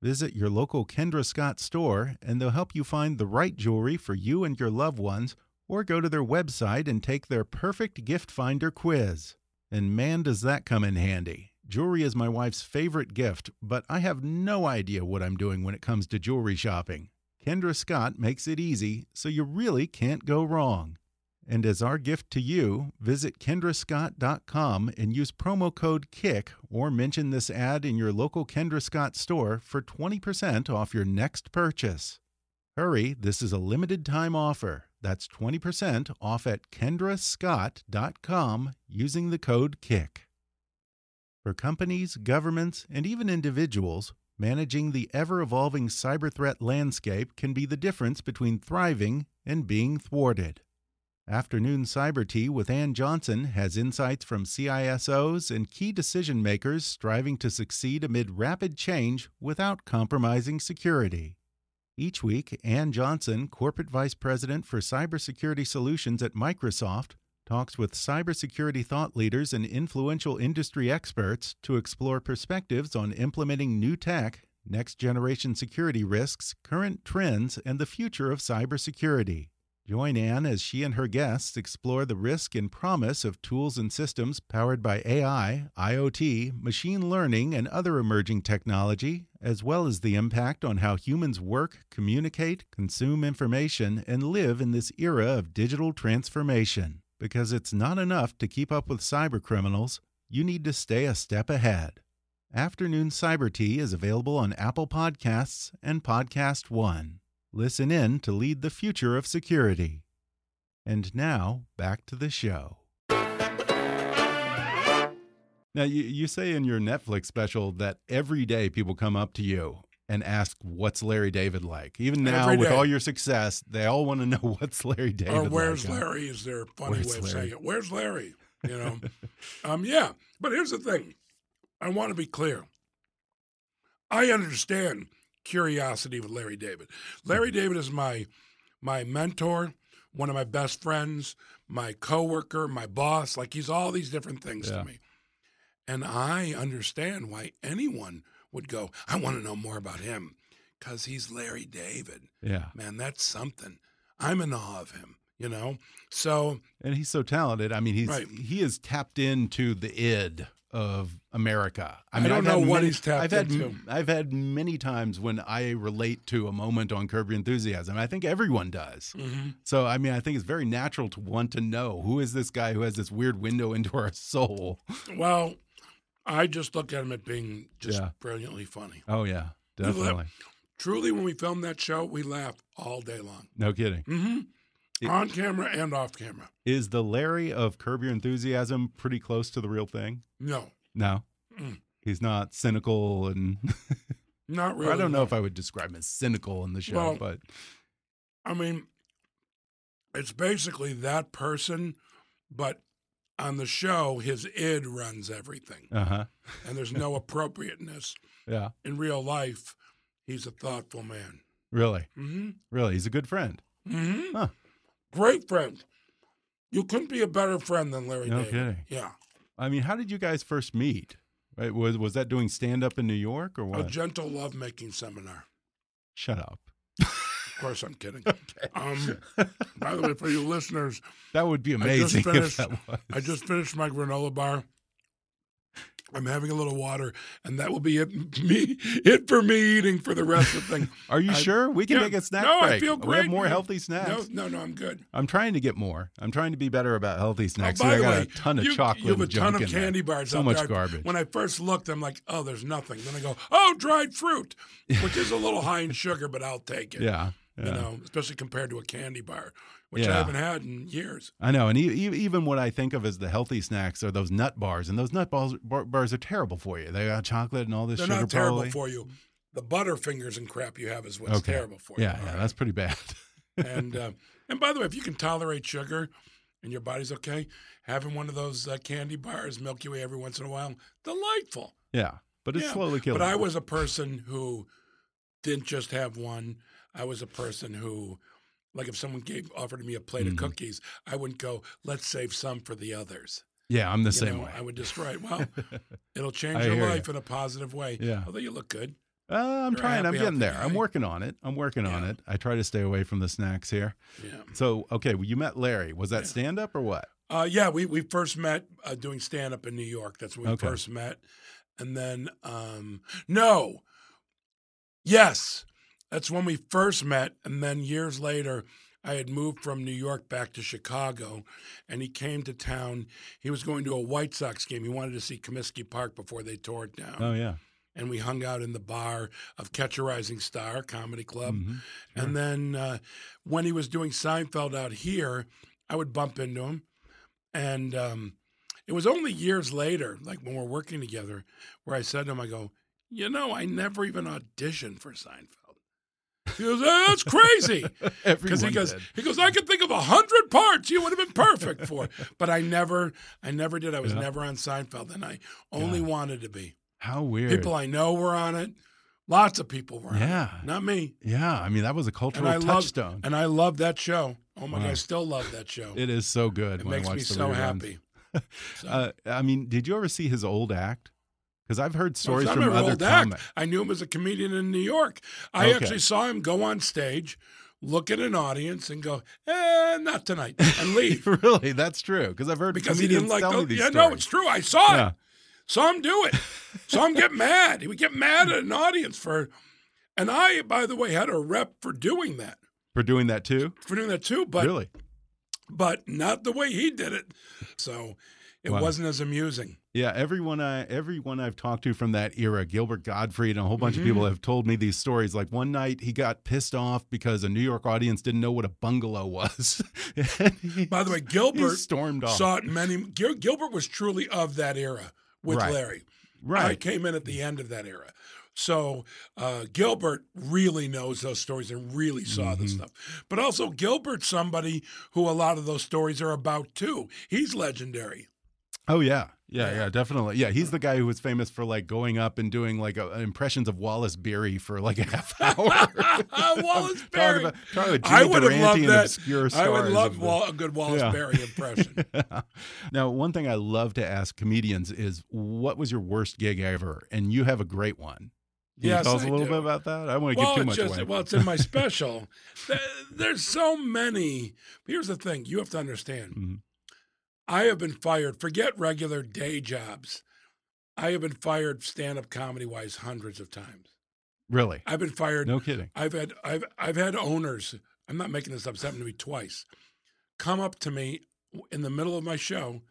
B: Visit your local Kendra Scott store and they'll help you find the right jewelry for you and your loved ones, or go to their website and take their perfect gift finder quiz. And man, does that come in handy! Jewelry is my wife's favorite gift, but I have no idea what I'm doing when it comes to jewelry shopping. Kendra Scott makes it easy, so you really can't go wrong. And as our gift to you, visit kendrascott.com and use promo code KICK or mention this ad in your local Kendra Scott store for 20% off your next purchase. Hurry, this is a limited time offer. That's 20% off at kendrascott.com using the code KICK. For companies, governments, and even individuals, managing the ever evolving cyber threat landscape can be the difference between thriving and being thwarted. Afternoon Cyber Tea with Ann Johnson has insights from CISOs and key decision makers striving to succeed amid rapid change without compromising security. Each week, Ann Johnson, Corporate Vice President for Cybersecurity Solutions at Microsoft, talks with cybersecurity thought leaders and influential industry experts to explore perspectives on implementing new tech, next generation security risks, current trends, and the future of cybersecurity. Join Anne as she and her guests explore the risk and promise of tools and systems powered by AI, IoT, machine learning, and other emerging technology, as well as the impact on how humans work, communicate, consume information, and live in this era of digital transformation because it's not enough to keep up with cybercriminals. You need to stay a step ahead. Afternoon Cyber Tea is available on Apple Podcasts and Podcast One. Listen in to lead the future of security. And now, back to the show. Now, you, you say in your Netflix special that every day people come up to you and ask, What's Larry David like? Even now,
C: Every
B: with
C: day.
B: all your success, they all want to know *laughs* what's Larry David
C: or where's
B: like.
C: Larry is their funny
B: Where's
C: way of
B: Larry?
C: saying it. Where's Larry?
B: *laughs*
C: You know, um, yeah. But here's the thing: I want to be clear. I understand curiosity with Larry David.
B: Mm-hmm.
C: Larry David is my my mentor, one of my best friends, my coworker, my boss. Like he's all these different things
B: Yeah.
C: to me, and I understand why anyone would go. I want to know more about him because he's Larry David
B: Yeah.
C: man, that's something. I'm in awe of him, you know? So,
B: And he's so talented. I mean, he's
C: Right.
B: he is tapped into the id of America.
C: I
B: mean,
C: don't know
B: had
C: what
B: many-
C: he's tapped
B: I've had,
C: into.
B: I've had many times when I relate to a moment on Curb Your Enthusiasm. I think everyone does.
C: Mm-hmm.
B: So, I mean, I think it's very natural to want to know who is this guy who has this weird window into our soul.
C: well, I just look at him at being just
B: Yeah.
C: brilliantly funny.
B: Oh yeah,
C: love- *laughs*
B: definitely.
C: Truly, when we filmed that show, we laughed all day long.
B: No kidding.
C: hmm
B: It-
C: On camera and off camera.
B: Is the Larry of Curb Your Enthusiasm pretty close to the real thing?
C: No,
B: No,
C: Mm.
B: he's not cynical and. *laughs*
C: not
B: Or
C: really.
B: I don't know if I would describe him as cynical in the show,
C: Well,
B: but
C: I mean, it's basically that person, but on the show, his id runs everything,
B: uh huh,
C: and
B: *laughs*
C: there's no appropriateness.
B: yeah,
C: In real life, he's a thoughtful man.
B: really,
C: hmm
B: really, he's a good friend.
C: hmm
B: Huh.
C: Great friend. You couldn't be a better friend than Larry
B: No
C: David.
B: kidding.
C: Yeah.
B: I mean, how did you guys first meet? Right, was was that doing stand up in New York or
C: A
B: what?
C: gentle lovemaking seminar.
B: Shut up.
C: Of course,
B: *laughs*
C: I'm kidding. um, by the way, for you listeners,
B: That would be
C: I just
B: amazing if
C: finished-
B: that was.
C: I just finished my granola bar. I'm having a little water, and that will be it. Me, it for me eating for the rest of the thing.
B: *laughs* Are you
C: I-
B: sure we can
C: Yeah.
B: take a snack
C: no,
B: break?
C: I feel great.
B: We have more
C: man.
B: healthy snacks.
C: No, no, no, I'm good.
B: I'm trying to get more. I'm trying to be better about healthy
C: Oh,
B: snacks.
C: by
B: I
C: the
B: got
C: way,
B: a ton of
C: you,
B: chocolate.
C: You have a
B: and
C: ton
B: junk
C: of
B: in there.
C: candy bars.
B: So
C: out
B: much
C: there. I-
B: garbage.
C: When I first looked, I'm like, oh, there's nothing. Then I go, oh, dried fruit, which is a little
B: *laughs*
C: high in sugar, but I'll take it.
B: yeah, yeah.
C: You know, especially compared to a candy bar, which
B: Yeah.
C: I haven't had in years.
B: I know, and e- e- even what I think of as the healthy snacks are those nut bars, and those nut bars, bar, bars are terrible for you. They got chocolate and all this
C: They're
B: sugar.
C: not terrible
B: probably.
C: for you. The butterfingers and crap you have is what's
B: Okay.
C: terrible for
B: Yeah,
C: you.
B: yeah, that's *laughs* pretty bad.
C: and uh, and by the way, if you can tolerate sugar and your body's okay, having one of those uh, candy bars, Milky Way, every once in a while, delightful.
B: yeah, but it's
C: Yeah,
B: slowly killing.
C: But I
B: you.
C: was a person who didn't just have one. I was a person who Like if someone gave offered me a plate
B: Mhm.
C: of cookies, I wouldn't go, let's save some for the others.
B: Yeah, I'm the
C: You
B: same
C: know,
B: way.
C: I would destroy it.
B: *laughs*
C: Well, it'll
B: I
C: change your
B: hear ya.
C: life in a positive way.
B: Yeah.
C: Although you look good.
B: Uh, I'm
C: You're a
B: trying. I'm
C: happy,
B: getting
C: healthy
B: there. I'm
C: guy.
B: working on it. I'm working on
C: Yeah.
B: it. I try to stay away from the snacks here.
C: Yeah.
B: So, okay, well, you met Larry. Was that
C: Yeah.
B: stand up or what?
C: Uh, yeah, we, we first met uh, doing stand up in New York. That's when we
B: Okay.
C: first met. And then, um, no, yes, that's when we first met. And then years later, I had moved from New York back to Chicago, and he came to town. He was going to a White Sox game. He wanted to see Comiskey Park before they tore it down.
B: Oh yeah.
C: And we hung out in the bar of Catch a Rising Star Comedy Club.
B: Mhm. *laughs*
C: And then uh, when he was doing Seinfeld out here, I would bump into him. And um, it was only years later, like when we're working together, where I said to him, I go, You know, I never even auditioned for Seinfeld. He goes, "Oh, That's crazy. Because he
B: *laughs* Everyone
C: goes,
B: did.
C: he goes, I could think of a hundred parts you would have been perfect for. But I never, I never did. I was
B: Yeah.
C: never on Seinfeld, and I only
B: God.
C: wanted to be.
B: How weird.
C: People I know were on it. Lots of people were on
B: Yeah.
C: it. Not me
B: yeah, I mean that was a cultural
C: love-
B: touchstone.
C: and I love that show. Oh my
B: Wow.
C: god, I still love that show. It,
B: it is so good. when I
C: makes
B: watch
C: me
B: the
C: so
B: reruns.
C: happy. So-
B: Uh, I mean, did you ever see his old act? Because I've heard stories
C: I
B: from
C: remember
B: other
C: old act.
B: comics. *laughs*
C: I knew him as a comedian in New York. I
B: Okay.
C: actually saw him go on stage, look at an audience, and go, "Eh, not tonight,"
B: *laughs*
C: and leave
B: really, that's true. Because I've heard
C: because he didn't
B: comedians
C: like.
B: tell me
C: Oh,
B: these
C: yeah,
B: stories.
C: no, it's true. I saw
B: Yeah.
C: it. Saw him do it. saw him
B: *laughs*
C: get mad. He would get mad at an audience for. And I, by the way, had a rep for doing that,
B: For doing that too.
C: for doing that too. But
B: really,
C: but not the way he did it. So it
B: Wow.
C: wasn't as amusing.
B: Yeah, everyone I everyone I've talked to from that era, Gilbert Gottfried and a whole bunch
C: Mm-hmm.
B: of people have told me these stories. Like one night he got pissed off because a New York audience didn't know what a bungalow was. *laughs* And he-
C: By the way,
B: he
C: Gilbert
B: stormed off.
C: saw it many. Gil- Gilbert was truly of that era with
B: Right.
C: Larry. I
B: right.
C: came in at the end of that era. So uh, Gilbert really knows those stories and really saw
B: Mm-hmm.
C: this stuff. But also Gilbert's somebody who a lot of those stories are about too. He's legendary.
B: Oh yeah. Yeah, yeah, definitely. Yeah, he's the guy who was famous for like going up and doing like uh impressions of Wallace Beery for like a half *laughs* hour.
C: *laughs* Wallace
B: Talk
C: Berry.
B: about, talk about
C: I
B: Jimmy
C: would have
B: Durante
C: loved
B: and
C: that.
B: obscure
C: I would
B: stars
C: love
B: of the-
C: Wal- a good Wallace
B: Yeah. *laughs*
C: Berry impression.
B: now, one thing I love to ask comedians is what was your worst gig ever? And you have a great one. Can
C: Yes,
B: you tell us
C: I
B: a little
C: do.
B: bit about that? I don't want to give too much
C: it's just,
B: away.
C: Well, it's
B: *laughs*
C: in my special. There- There's so many. Here's the thing you have to understand.
B: Mhm.
C: I have been fired, forget regular day jobs. I have been fired stand up comedy wise hundreds of times. *laughs*
B: really?
C: I've been fired.
B: No kidding.
C: I've had I've I've had owners. I'm not making this up. It's happened to me twice. Come up to me in the middle of my show,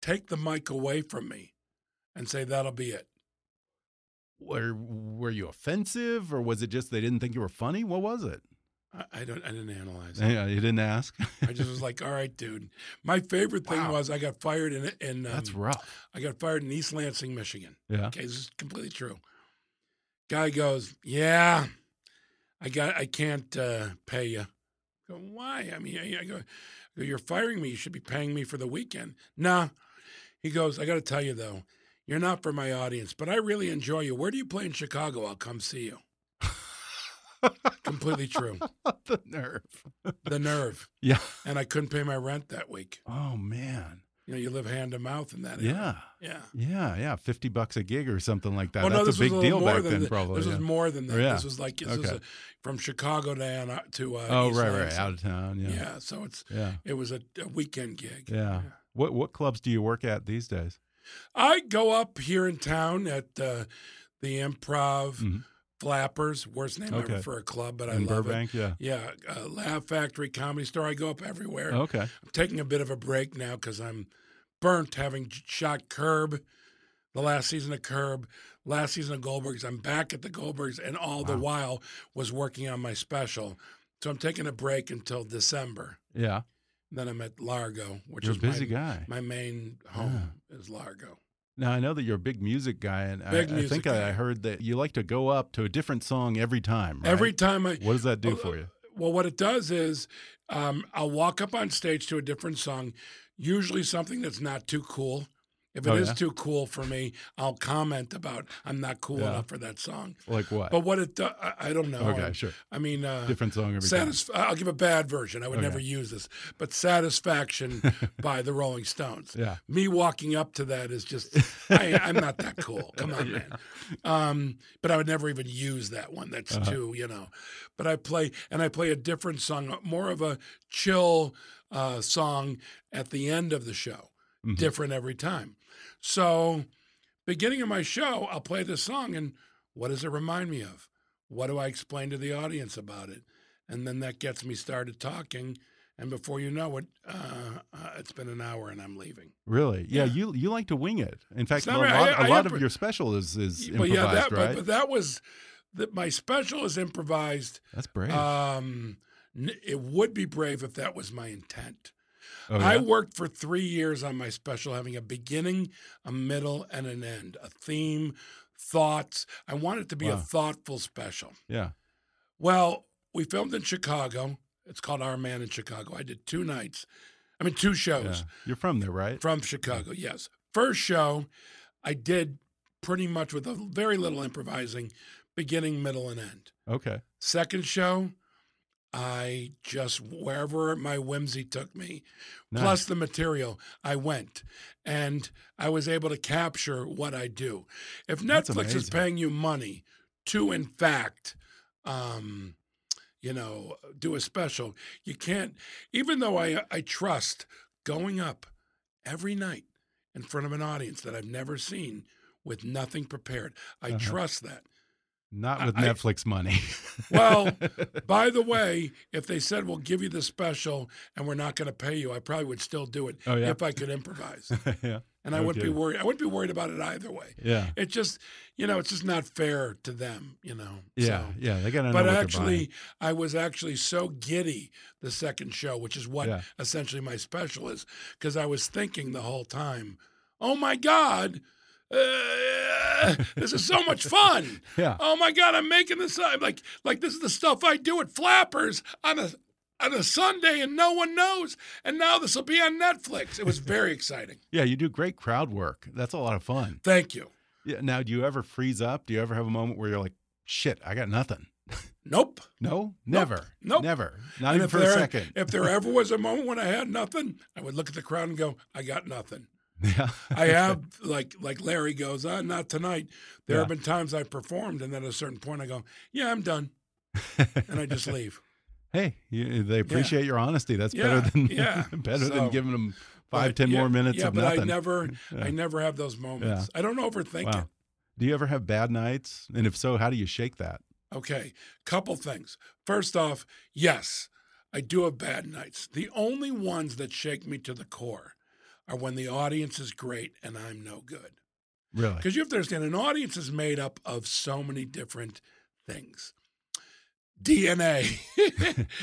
C: take the mic away from me, and say that'll be it.
B: Were were you offensive or was it just they didn't think you were funny? What was it?
C: I, I don't. I didn't analyze.
B: *laughs*
C: it.
B: Yeah, you didn't ask.
C: I just was like, all right, dude. My favorite thing
B: Wow.
C: was I got fired in in um,
B: *laughs* That's rough.
C: I got fired in East Lansing, Michigan.
B: Yeah.
C: Okay, this is completely true. Guy goes, yeah, I got I can't uh, pay you. I go, why? I mean, I, I go, I go, you're firing me. You should be paying me for the weekend. Nah. He goes, I got to tell you though, you're not for my audience, but I really enjoy you. Where do you play in Chicago? I'll come see you. completely true.
B: the nerve.
C: The nerve.
B: Yeah.
C: And I couldn't pay my rent that week.
B: Oh man.
C: You know, you live hand to mouth in that. Era.
B: Yeah.
C: Yeah.
B: Yeah, yeah. Fifty bucks a gig or something like that.
C: Well,
B: That's
C: Oh, no, this
B: a big
C: was a
B: deal
C: little more
B: back
C: than
B: then,
C: that.
B: probably.
C: This
B: yeah.
C: was more than that.
B: Yeah.
C: This was like this was
B: Okay.
C: a, from Chicago to Ann- to uh,
B: oh,
C: East
B: right, right.
C: Lansing.
B: Out of town.
C: Yeah.
B: Yeah.
C: so it's
B: Yeah.
C: it was a, a weekend gig.
B: Yeah. What what clubs do you work at these days?
C: I go up here in town at uh, the Improv
B: Mhm.
C: Flappers, worst name
B: Okay.
C: ever for a club, but I
B: In
C: love
B: Burbank, yeah.
C: it. Yeah, uh, Laugh Factory Comedy Store. I go up everywhere.
B: Okay.
C: I'm taking a bit of a break now because I'm burnt having j- shot Curb, the last season of Curb, last season of Goldbergs. I'm back at the Goldbergs, and all the while was working on my special. So I'm taking a break until December.
B: Yeah.
C: Then I'm at Largo, which
B: You're a
C: is my-
B: busy guy.
C: My main home is Largo.
B: Now I know that you're a big music guy, and I-
C: Big
B: I,
C: music
B: think I, I
C: guy.
B: heard that you like to go up to a different song every time. Right?
C: Every Oh, time I
B: What does that do
C: Well,
B: for you?
C: Well, what it does is um, I'll walk up on stage to a different song, usually something that's not too cool. If it is
B: Oh, yeah?
C: too cool for me, I'll comment about I'm not cool
B: Yeah.
C: enough for that song.
B: Like what?
C: But what it do- I- I don't know.
B: Okay,
C: I-
B: sure.
C: I mean, uh,
B: Different song every time. Oh,
C: satisf- I'll give a bad version. I would
B: Okay.
C: never use this,
B: *laughs*
C: but "Satisfaction" by the Rolling Stones.
B: Yeah.
C: Me walking up to that is
B: *laughs*
C: just I, I'm not that cool. Come on, man. Um, but I would never even use that one. That's too, you know. But I play and I play a different song, more of a chill uh, song at the end of the show. Different every time. So, beginning of my show, I'll play this song and what does it remind me of? What do I explain to the audience about it? And then that gets me started talking. And before you know it, uh, uh, it's been an hour and I'm leaving.
B: Really? Yeah,
C: Yeah.
B: You you like to wing it. In fact,
C: It's
B: a
C: not
B: lot,
C: right.
B: a
C: I- I
B: lot
C: impro-
B: of your special is is
C: but
B: improvised,
C: yeah, that,
B: right?
C: but, but that was that my special is improvised.
B: That's brave.
C: Um, n- it would be brave if that was my intent.
B: oh,
C: I
B: yeah?
C: worked for three years on my special, having a beginning, a middle, and an end, a theme, thoughts. I wanted it to be a
B: Wow.
C: thoughtful special.
B: yeah.
C: Well, we filmed in Chicago. It's called Our Man in Chicago. I did two nights. I mean, two
B: yeah.
C: shows
B: You're from there, right?
C: from Chicago. Yes. First show, I did pretty much with a very little improvising, beginning, middle, and end.
B: Okay.
C: Second show, I just wherever my whimsy took me,
B: Nice.
C: plus the material, I went and I was able to capture what I do. If
B: That's
C: Netflix is
B: amazing.
C: paying you money to, in fact, um, you know, do a special, you can't, even though I, I trust going up every night in front of an audience that I've never seen with nothing prepared, I
B: Uh-huh.
C: trust that.
B: Not with
C: I- I-
B: Netflix money. *laughs*
C: Well, by the way, if they said we'll give you the special and we're not going to pay you, I probably would still do it
B: Oh, yeah?
C: if I could improvise,
B: *laughs* yeah.
C: and I
B: No
C: wouldn't
B: kidding.
C: be worried. I wouldn't be worried about it either way.
B: Yeah.
C: It just, you know, it's just not fair to them, you know.
B: Yeah.
C: So-
B: yeah. They got to know
C: But
B: what they're
C: actually, I was actually so giddy the second show, which is what
B: Yeah.
C: essentially my special is, because I was thinking the whole time, oh my God, uh, *laughs* this is so much fun.
B: *laughs* Yeah.
C: Oh my God, I'm making this up. Like, like this is the stuff I do at Flappers on a on a Sunday and no one knows. And now this will be on
B: *laughs*
C: Netflix. It was very exciting.
B: yeah. You do great crowd work. That's a lot of fun.
C: Thank you.
B: Yeah. Now, do you ever freeze up? Do you ever have a moment where you're like, shit, I got nothing?
C: Nope.
B: No, never.
C: Nope.
B: Never. Not
C: And
B: even
C: if
B: for a
C: there-
B: second.
C: If there ever was a moment when I had nothing, I would look at the crowd and go, I got nothing.
B: *laughs* yeah.
C: I have like like Larry goes, uh, not tonight. There have
B: Yeah.
C: been times I performed and then at a certain point I go, Yeah, I'm done. And I just leave.
B: Hey, you, they appreciate your honesty. That's
C: Yeah,
B: better than
C: yeah.
B: *laughs* better
C: So-
B: than giving them *laughs* five,
C: But,
B: ten
C: yeah,
B: more minutes
C: Yeah,
B: of
C: but
B: nothing.
C: I never
B: *laughs* Yeah.
C: I never have those moments. I don't overthink
B: wow.
C: it.
B: Do you ever have bad nights? And if so, how do you shake that?
C: Okay, couple things. First off, yes, I do have bad nights. The only ones that shake me to the core are when the audience is great and I'm no good.
B: Really?
C: Because you have to understand, an audience is made up of so many different things. DNA,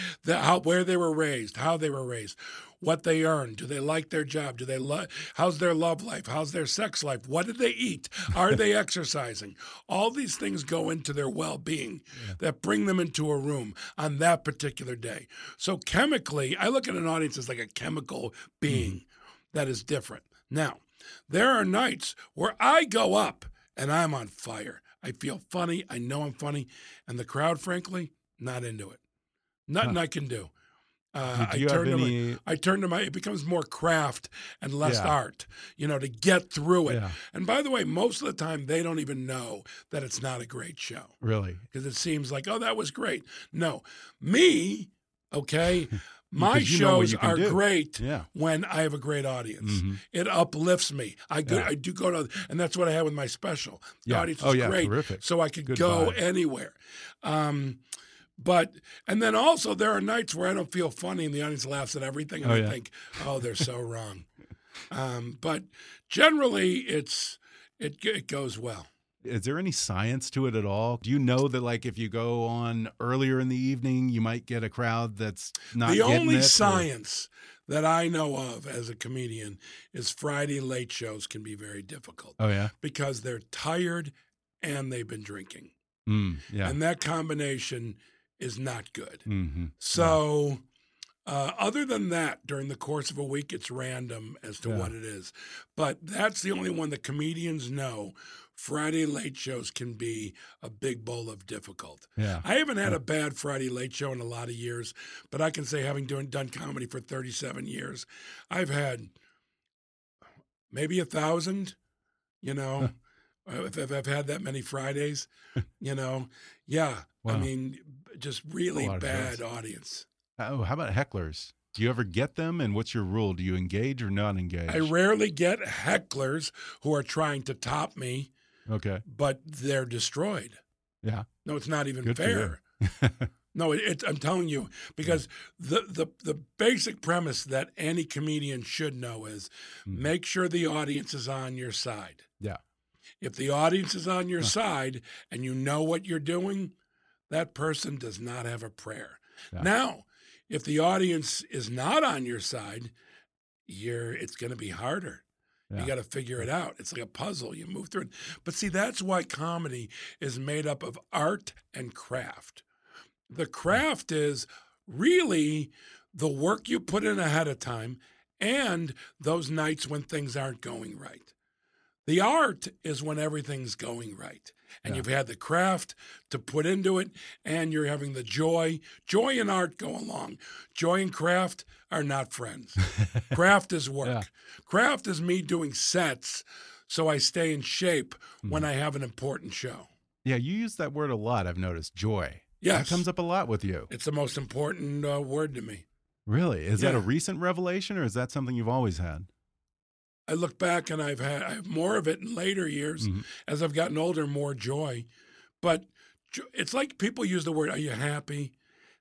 C: *laughs* the, how, where they were raised, how they were raised, what they earn, do they like their job, do they love, how's their love life, how's their sex life, what do they eat, are they exercising? All these things go into their well-being that bring them into a room on that particular day. So chemically, I look at an audience as like a chemical being that is different. Now, there are nights where I go up and I'm on fire. I feel funny. I know I'm funny. And the crowd, frankly, not into it. Nothing I can do. Uh,
B: Do you
C: I
B: have
C: turn to
B: any-
C: my, I turn to my. It becomes more craft and less
B: Yeah.
C: art, you know, to get through it.
B: Yeah.
C: And by the way, most of the time they don't even know that it's not a great show *laughs*
B: Really?
C: because it seems like, oh, that was great. No, me,
B: *laughs*
C: okay, my
B: Because you know what
C: shows
B: you can
C: are
B: do.
C: great
B: Yeah. Mm-hmm.
C: when I have a great audience. It uplifts me. I go,
B: Yeah.
C: I do go to, and that's what I had with my special. The
B: Yeah.
C: audience
B: Oh,
C: is
B: yeah,
C: great,
B: terrific.
C: so I could
B: Good
C: go
B: vibe.
C: anywhere. Um, but and then also there are nights where I don't feel funny, and the audience laughs at everything, and
B: Oh,
C: I
B: yeah.
C: think, oh, they're
B: *laughs*
C: so wrong. Um, but generally, it's it it goes well.
B: Is there any science to it at all? Do you know that like if you go on earlier in the evening, you might get a crowd that's not
C: the
B: getting
C: only
B: it, or-
C: science that I know of as a comedian is Friday late shows can be very difficult
B: Oh yeah.
C: because they're tired and they've been drinking.
B: Mm, yeah. Mm, Mm-hmm.
C: And that combination is not good.
B: hmm
C: So Uh, other than that, during the course of a week, it's random as to
B: Yeah.
C: what it is. But that's the only one that comedians know. Friday late shows can be a big bowl of difficult.
B: Yeah.
C: I haven't had a bad Friday late show in a lot of years, but I can say having doing, done comedy for 37 years, I've had maybe a thousand, you know, if, if I've had that
B: *laughs*
C: many Fridays, you know. Yeah. I
B: Wow.
C: mean, just really
B: lot of
C: bad
B: shows.
C: audience.
B: Oh, how about hecklers? Do you ever get them? And what's your rule? Do you engage or not engage?
C: I rarely get hecklers who are trying to top me,
B: okay.
C: but they're destroyed.
B: Yeah.
C: No, it's not even
B: Good for
C: fair.
B: them. *laughs*
C: No, it, it, I'm telling you because the, the the basic premise that any comedian should know is
B: Mm.
C: make sure the audience is on your side.
B: Yeah.
C: If the audience is on your
B: Huh.
C: side and you know what you're doing, that person does not have a prayer.
B: Yeah.
C: Now, if the audience is not on your side, you're it's going to be harder.
B: Yeah.
C: You got to figure it out. It's like a puzzle. You move through it. But see, that's why comedy is made up of art and craft. The craft is really the work you put in ahead of time and those nights when things aren't going right. The art is when everything's going right. And
B: Yeah.
C: you've had the craft to put into it, and you're having the joy. Joy and art go along. Joy and craft are
B: *laughs*
C: not friends. craft is work.
B: Yeah.
C: Craft is me doing sets so I stay in shape when
B: Mm-hmm.
C: I have an important show.
B: Yeah, you use that word a lot, I've noticed. Joy.
C: Yes.
B: That comes up a lot with you.
C: It's the most important uh, word to me.
B: Really? Is that a
C: Yeah.
B: recent revelation or is that something you've always had?
C: I look back and I've had I have more of it in later years
B: Mhm.
C: as I've gotten older, more joy. But jo- it's like people use the word, "Are you happy?"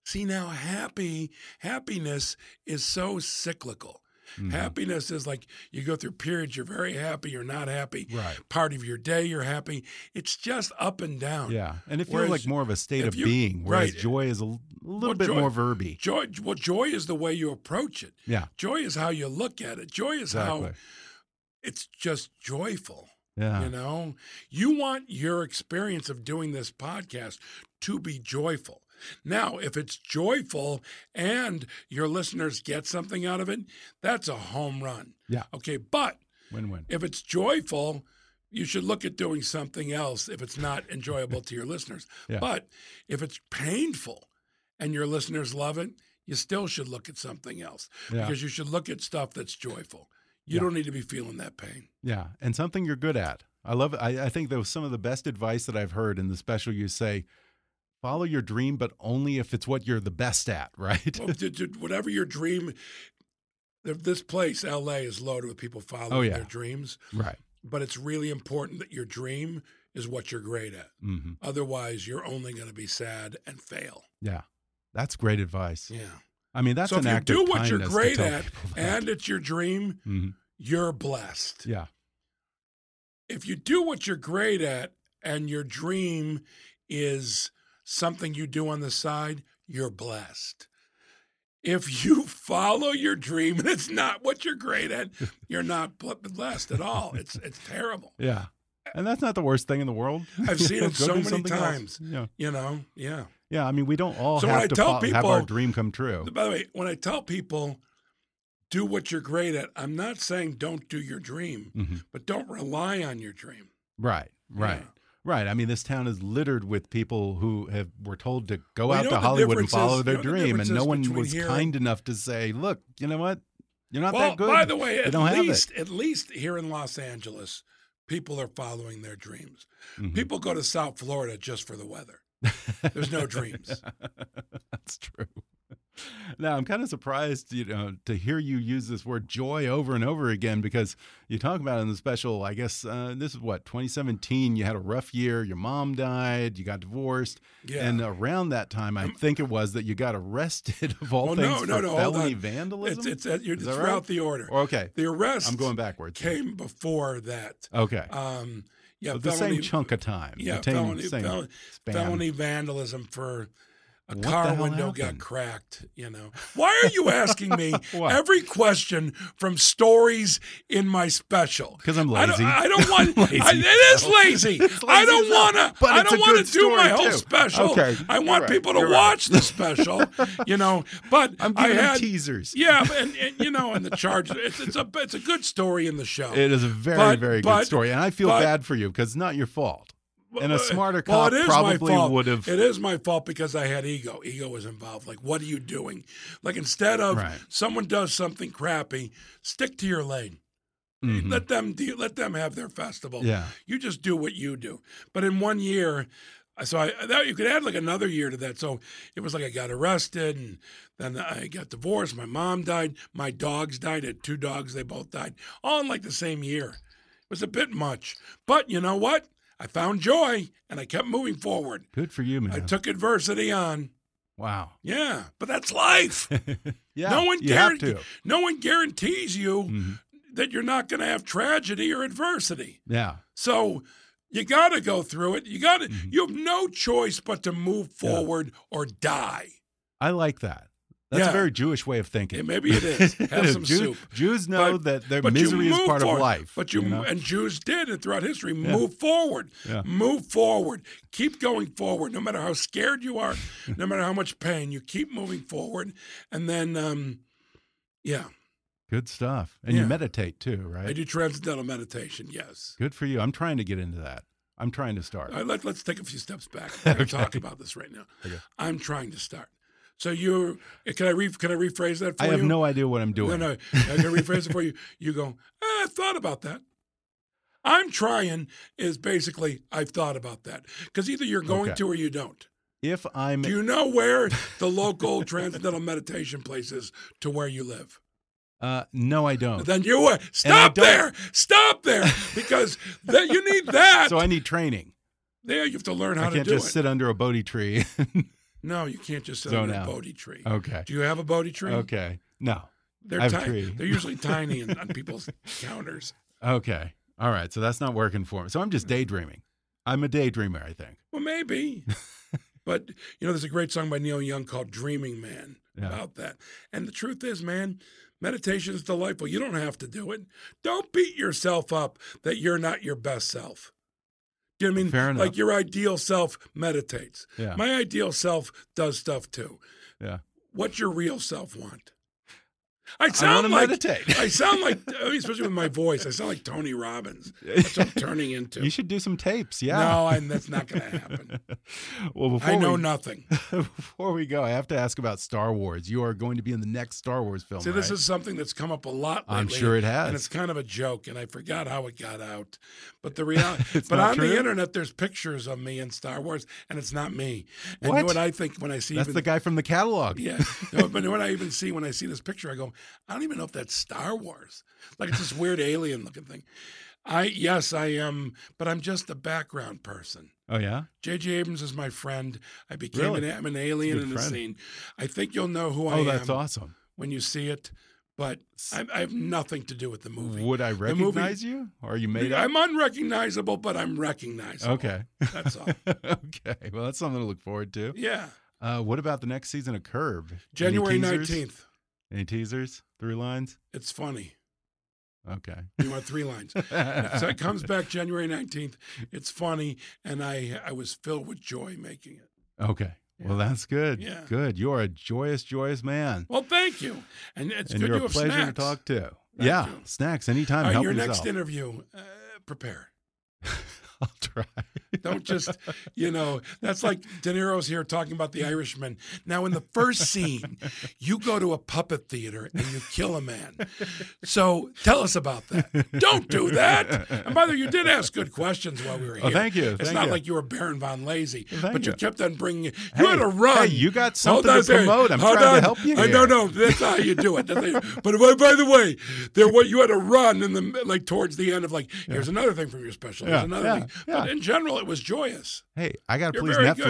C: See now, happy happiness is so cyclical.
B: Mm-hmm.
C: Happiness is like you go through periods. You're very happy. You're not happy.
B: Right.
C: Part of your day, you're happy. It's just up and down.
B: Yeah. And it feels
C: Whereas
B: like more of a state
C: if
B: of
C: you-
B: being, whereas
C: right.
B: joy is a l- little
C: Well,
B: bit
C: joy-
B: more verby.
C: Joy. Well, joy is the way you approach it.
B: Yeah.
C: Joy is how you look at it. Joy is
B: Exactly. Ah.
C: how it's just joyful.
B: Yeah.
C: You know, you want your experience of doing this podcast to be joyful. Now, if it's joyful and your listeners get something out of it, that's a home run.
B: Yeah.
C: Okay. But
B: Win win.
C: if it's joyful, you should look at doing something else if it's not enjoyable to your listeners.
B: *laughs* Yeah.
C: But if it's painful and your listeners love it, you still should look at something else
B: Yeah.
C: because you should look at stuff that's joyful. You
B: Yeah.
C: don't need to be feeling that pain.
B: Yeah, and something you're good at. I love. I, I think that was some of the best advice that I've heard in the special. You say, follow your dream, but only if it's what you're the best at. *laughs* Right?
C: Well, d- d- whatever your dream, th- this place, LA, is loaded with people following
B: Oh, yeah.
C: their dreams,
B: right.
C: but it's really important that your dream is what you're great at.
B: hmm
C: Otherwise, you're only going to be sad and fail.
B: Yeah, that's great advice.
C: Yeah.
B: I mean, that's
C: so if
B: an
C: you
B: act
C: do
B: of
C: what you're
B: kindness to
C: great
B: tell
C: at
B: people that.
C: and it's your dream,
B: Mhm.
C: you're blessed.
B: yeah,
C: If you do what you're great at and your dream is something you do on the side, you're blessed. If you *laughs* follow your dream and it's not what you're great at, you're not bl- blessed at all. It's it's terrible.
B: yeah, and that's not the worst thing in the world.
C: *laughs* I've
B: You *laughs*
C: seen
B: know,
C: it
B: go
C: so
B: do
C: many
B: something else.
C: times.
B: Yeah,
C: You know, yeah.
B: yeah. I mean, we don't all
C: So when I
B: have to
C: tell
B: fo- have our
C: people-
B: dream come true.
C: By the way, when I tell people do what you're great at, I'm not saying don't do your dream,
B: Mhm.
C: but don't rely on your dream.
B: Right. Right.
C: Yeah.
B: Right. I mean, this town is littered with people who have were told to go
C: Well, you
B: out
C: know
B: to
C: what the
B: Hollywood and
C: difference
B: follow
C: is-
B: their
C: you know what the
B: dream,
C: difference
B: and no
C: is
B: one
C: between
B: was
C: here-
B: kind enough to say, "Look, you know what? You're not
C: well,
B: that good."
C: by the way,
B: You
C: at
B: don't have it.
C: least at least here in Los Angeles, people are following their dreams.
B: Mhm.
C: People go to South Florida just for the weather. There's no dreams.
B: *laughs* That's true. Now I'm kind of surprised, you know, to hear you use this word joy over and over again because you talk about it in the special. I guess uh, this is what 2017. You had a rough year. Your mom died. You got divorced.
C: Yeah.
B: And around that time, I think it was that you got arrested *laughs* of all
C: Well,
B: things
C: Oh, no, no,
B: for
C: no. hold
B: felony
C: on.
B: vandalism.
C: It's, it's, at- you're,
B: Is
C: it's
B: that
C: throughout
B: right?
C: the order.
B: Or- okay.
C: The arrest
B: I'm going backwards.
C: came before that.
B: Okay.
C: Um, yeah,
B: But the
C: felony-
B: same chunk of time.
C: Yeah,
B: the same,
C: felony,
B: same
C: fel-
B: span.
C: felony vandalism for A
B: What the
C: car
B: hell
C: window got
B: happened?
C: cracked, you know. Why are you asking me
B: *laughs* What?
C: every question from stories in my special?
B: 'Cause I'm
C: I don't-
B: lazy. *laughs*
C: I don't, want.
B: I'm lazy.
C: I, it
B: *laughs*
C: is lazy.
B: It's
C: I
B: lazy
C: don't
B: as hell,
C: want to.
B: but
C: I
B: it's
C: don't
B: a
C: want
B: good
C: to do my
B: story,
C: whole
B: too.
C: special.
B: Okay,
C: I
B: you're
C: want
B: right,
C: people to
B: you're right.
C: watch
B: *laughs*
C: the special. you know, but
B: I'm
C: I
B: giving them
C: had
B: teasers. *laughs*
C: Yeah, and, and you know, and the charge. It's, it's a it's a good story in the show.
B: It is a very,
C: Oh. But-
B: very good
C: but-
B: story, and I feel
C: but-
B: bad for you because it's not your fault. And a smarter
C: Well,
B: cop
C: it is my
B: probably
C: fault.
B: would have.
C: It is my fault because I had ego. Ego was involved. Like, what are you doing? Like, instead of
B: Right.
C: someone does something crappy, stick to your lane.
B: Mhm.
C: Let them do, let them have their festival.
B: Yeah.
C: You just do what you do. But in one year, uh, so I that you could add like another year to that. So it was like I got arrested and then I got divorced. My mom died. My dogs died. I had two dogs. They both died all in like the same year. It was a bit much. But you know what? I found joy and I kept moving forward.
B: Good for you, man.
C: I took adversity on.
B: wow.
C: Yeah, but that's life.
B: *laughs* Yeah.
C: no one
B: you have
C: guaran-
B: to.
C: no one guarantees you
B: Mhm.
C: that you're not going to have tragedy or adversity.
B: Yeah.
C: So you got to go through it. You got to.
B: Mm-hmm.
C: You have no choice but to move forward or die.
B: I like that. That's
C: Yeah.
B: a very Jewish way of thinking.
C: Yeah, maybe
B: *laughs*
C: it is. Have some
B: Jews,
C: soup.
B: Jews know
C: But-
B: that their
C: but you
B: misery is
C: move
B: part
C: forward.
B: of life.
C: But you,
B: know?
C: and Jews did it throughout history.
B: Yeah.
C: Move forward.
B: Yeah.
C: Move forward. Keep going forward. No matter how scared
B: *laughs*
C: you are, no matter how much pain, you keep moving forward. And then, um, yeah,
B: good stuff. And
C: Yeah.
B: you meditate too, right?
C: I do transcendental meditation. Yes.
B: Good for you. I'm trying to get into that. I'm trying to start.
C: All right, let, us take a few
B: *laughs*
C: steps back. We're gonna talk about this right now. I'm trying to start. So you're. Can I re, Can I rephrase that for
B: I
C: you?
B: have no idea what I'm doing.
C: No, no. I can rephrase it for you. You go, "Eh, I thought about that. I'm trying is basically, I've thought about that. Because either you're going
B: Okay.
C: to or
B: *laughs*
C: you don't.
B: If I'm
C: Do you know where the local transcendental meditation place is to where you live?
B: uh no I don't.
C: Then you uh, stop
B: don't-
C: there. Stop there. Because that you
B: *laughs*
C: need that.
B: So I need training.
C: there you have to learn how
B: I
C: to
B: can't
C: do
B: just
C: it.
B: sit under a Bodhi tree. *laughs*
C: No, you can't just sit
B: Zone
C: under a
B: out.
C: Bodhi tree.
B: okay.
C: Do you have a Bodhi tree?
B: Okay. No.
C: They're
B: I have a
C: tiny.
B: tree.
C: They're usually
B: *laughs*
C: tiny in- on people's counters.
B: Okay. All right. So that's not working for me. So I'm just
C: Mm-hmm.
B: daydreaming. I'm a daydreamer, I think. *laughs*
C: Well, maybe. but, you know, there's a great song by Neil Young called Dreaming Man
B: Yeah.
C: about that. And the truth is, man, meditation is delightful. You don't have to do it. Don't beat yourself up that you're not your best self. Do you know what I mean?
B: Fair enough.
C: Like your ideal self meditates.
B: Yeah.
C: My ideal self does stuff too.
B: Yeah.
C: What's your real self want? I
B: wanna
C: sound like
B: meditate.
C: I sound
B: *laughs*
C: like I mean, especially with my voice. I sound like Tony Robbins. That's what I'm turning into.
B: You should do some tapes. Yeah.
C: No, and that's not going to happen.
B: *laughs* Well, before
C: I know
B: we,
C: nothing.
B: *laughs* before we go, I have to ask about Star Wars. You are going to be in the next Star Wars film.
C: See, this
B: right?
C: is something that's come up a lot lately.
B: I'm sure it has.
C: And it's kind of a joke, and I forgot how it got out.
B: *laughs*
C: But the reality,
B: It's
C: but
B: not
C: on the
B: true?
C: internet, there's pictures of me in Star Wars, and it's not me. And you know
B: What?
C: what I think when I see
B: that's
C: even-
B: the guy from the catalog.
C: *laughs* Yeah, no, but what I even see when I see this picture, I go, I don't even know if that's Star Wars. Like it's this weird alien looking thing. I yes, I am, but I'm just a background person.
B: Oh yeah.
C: J.J. Abrams is my friend. I became
B: Really?
C: an, I'm an alien
B: Good
C: in the
B: friend.
C: scene. I think you'll know who I
B: oh,
C: am
B: that's awesome.
C: when you see it, but I, I have nothing to do with the movie.
B: Would I
C: The movie-
B: recognize you? Or are you made up?
C: *laughs* I'm unrecognizable, but I'm recognizable. *laughs*
B: okay. *laughs*
C: That's all.
B: okay. Well, that's something to look forward to.
C: Yeah.
B: Uh, what about the next season of Curb? Any
C: January
B: teasers?
C: 19th.
B: Any teasers? Three lines?
C: It's funny.
B: Okay.
C: You want three lines. *laughs* so it comes back January 19th. It's funny. And I, I was filled with joy making it.
B: *laughs* Okay. Well, that's good.
C: Yeah.
B: Good. You are a joyous, joyous man.
C: Well, thank you. And it's
B: and
C: good
B: you're
C: you
B: a
C: have
B: pleasure
C: snacks.
B: to talk to.
C: Thank
B: yeah.
C: you.
B: Snacks anytime.
C: All right,
B: Help
C: your
B: yourself.
C: next interview, uh, prepare.
B: *laughs* I'll try.
C: *laughs* Don't just, you know, that's like De Niro's here talking about the Irishman. Now, in the first scene, you go to a puppet theater and you kill a man. So tell us about that. Don't do that. And by the way, you did ask good questions while we were here.
B: Oh, thank you,
C: It's
B: thank
C: not
B: you.
C: like you were Baron Von Lazy,
B: Thank
C: but you
B: you.
C: kept on bringing it. You
B: Hey,
C: had a run.
B: hey, you got
C: Hold
B: something to
C: on a second.
B: promote. I'm
C: Hold
B: trying to
C: on.
B: help you
C: I
B: here.
C: don't know. *laughs* That's how you do it. That's how you- but by, by the way, there what you had a run in the like towards the end of like here's another thing from your special. Here's
B: Yeah,
C: another
B: yeah,
C: thing.
B: yeah.
C: But in general, it was joyous.
B: *laughs* Hey, I got to
C: You're
B: please
C: very good.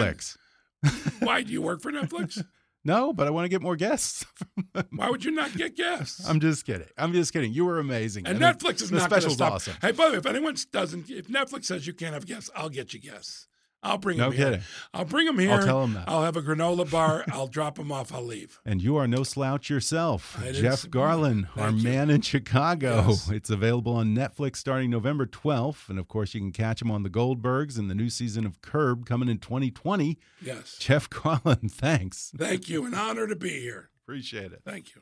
B: Netflix.
C: Why do you work for Netflix?
B: No, but I want to get more guests. *laughs*
C: Why would you not get guests?
B: I'm just kidding. I'm just kidding. You were amazing.
C: and
B: the-
C: Netflix is
B: the
C: not going to
B: special's
C: stop.
B: awesome.
C: Hey, by the way, if anyone doesn't, if Netflix says you can't have guests, I'll get you guests. I'll bring
B: No
C: him here.
B: kidding.
C: I'll bring him here.
B: I'll tell him that.
C: I'll have a granola bar. I'll drop him off. I'll leave.
B: And you are no slouch yourself.
C: I didn't
B: Jeff
C: suppose-
B: Garland, Our
C: Thank you.
B: Man in Chicago.
C: Yes.
B: It's available on Netflix starting November 12th. And of course, you can catch him on The Goldbergs and the new season of Curb coming in 2020. *laughs*
C: Yes.
B: Jeff Garland, thanks.
C: Thank you. An honor to be here.
B: Appreciate it.
C: Thank you.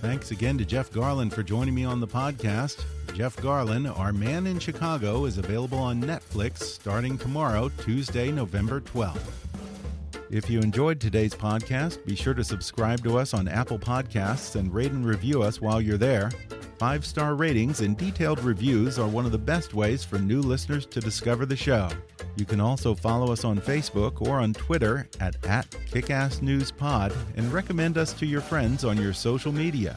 B: Thanks again to Jeff Garland for joining me on the podcast. Jeff Garland, Our Man in Chicago, is available on Netflix starting tomorrow, Tuesday, November 12th. If you enjoyed today's podcast, be sure to subscribe to us on Apple Podcasts and rate and review us while you're there. Five star ratings and detailed reviews are one of the best ways for new listeners to discover the show. You can also follow us on Facebook or on Twitter at, at KickassNewsPod and recommend us to your friends on your social media.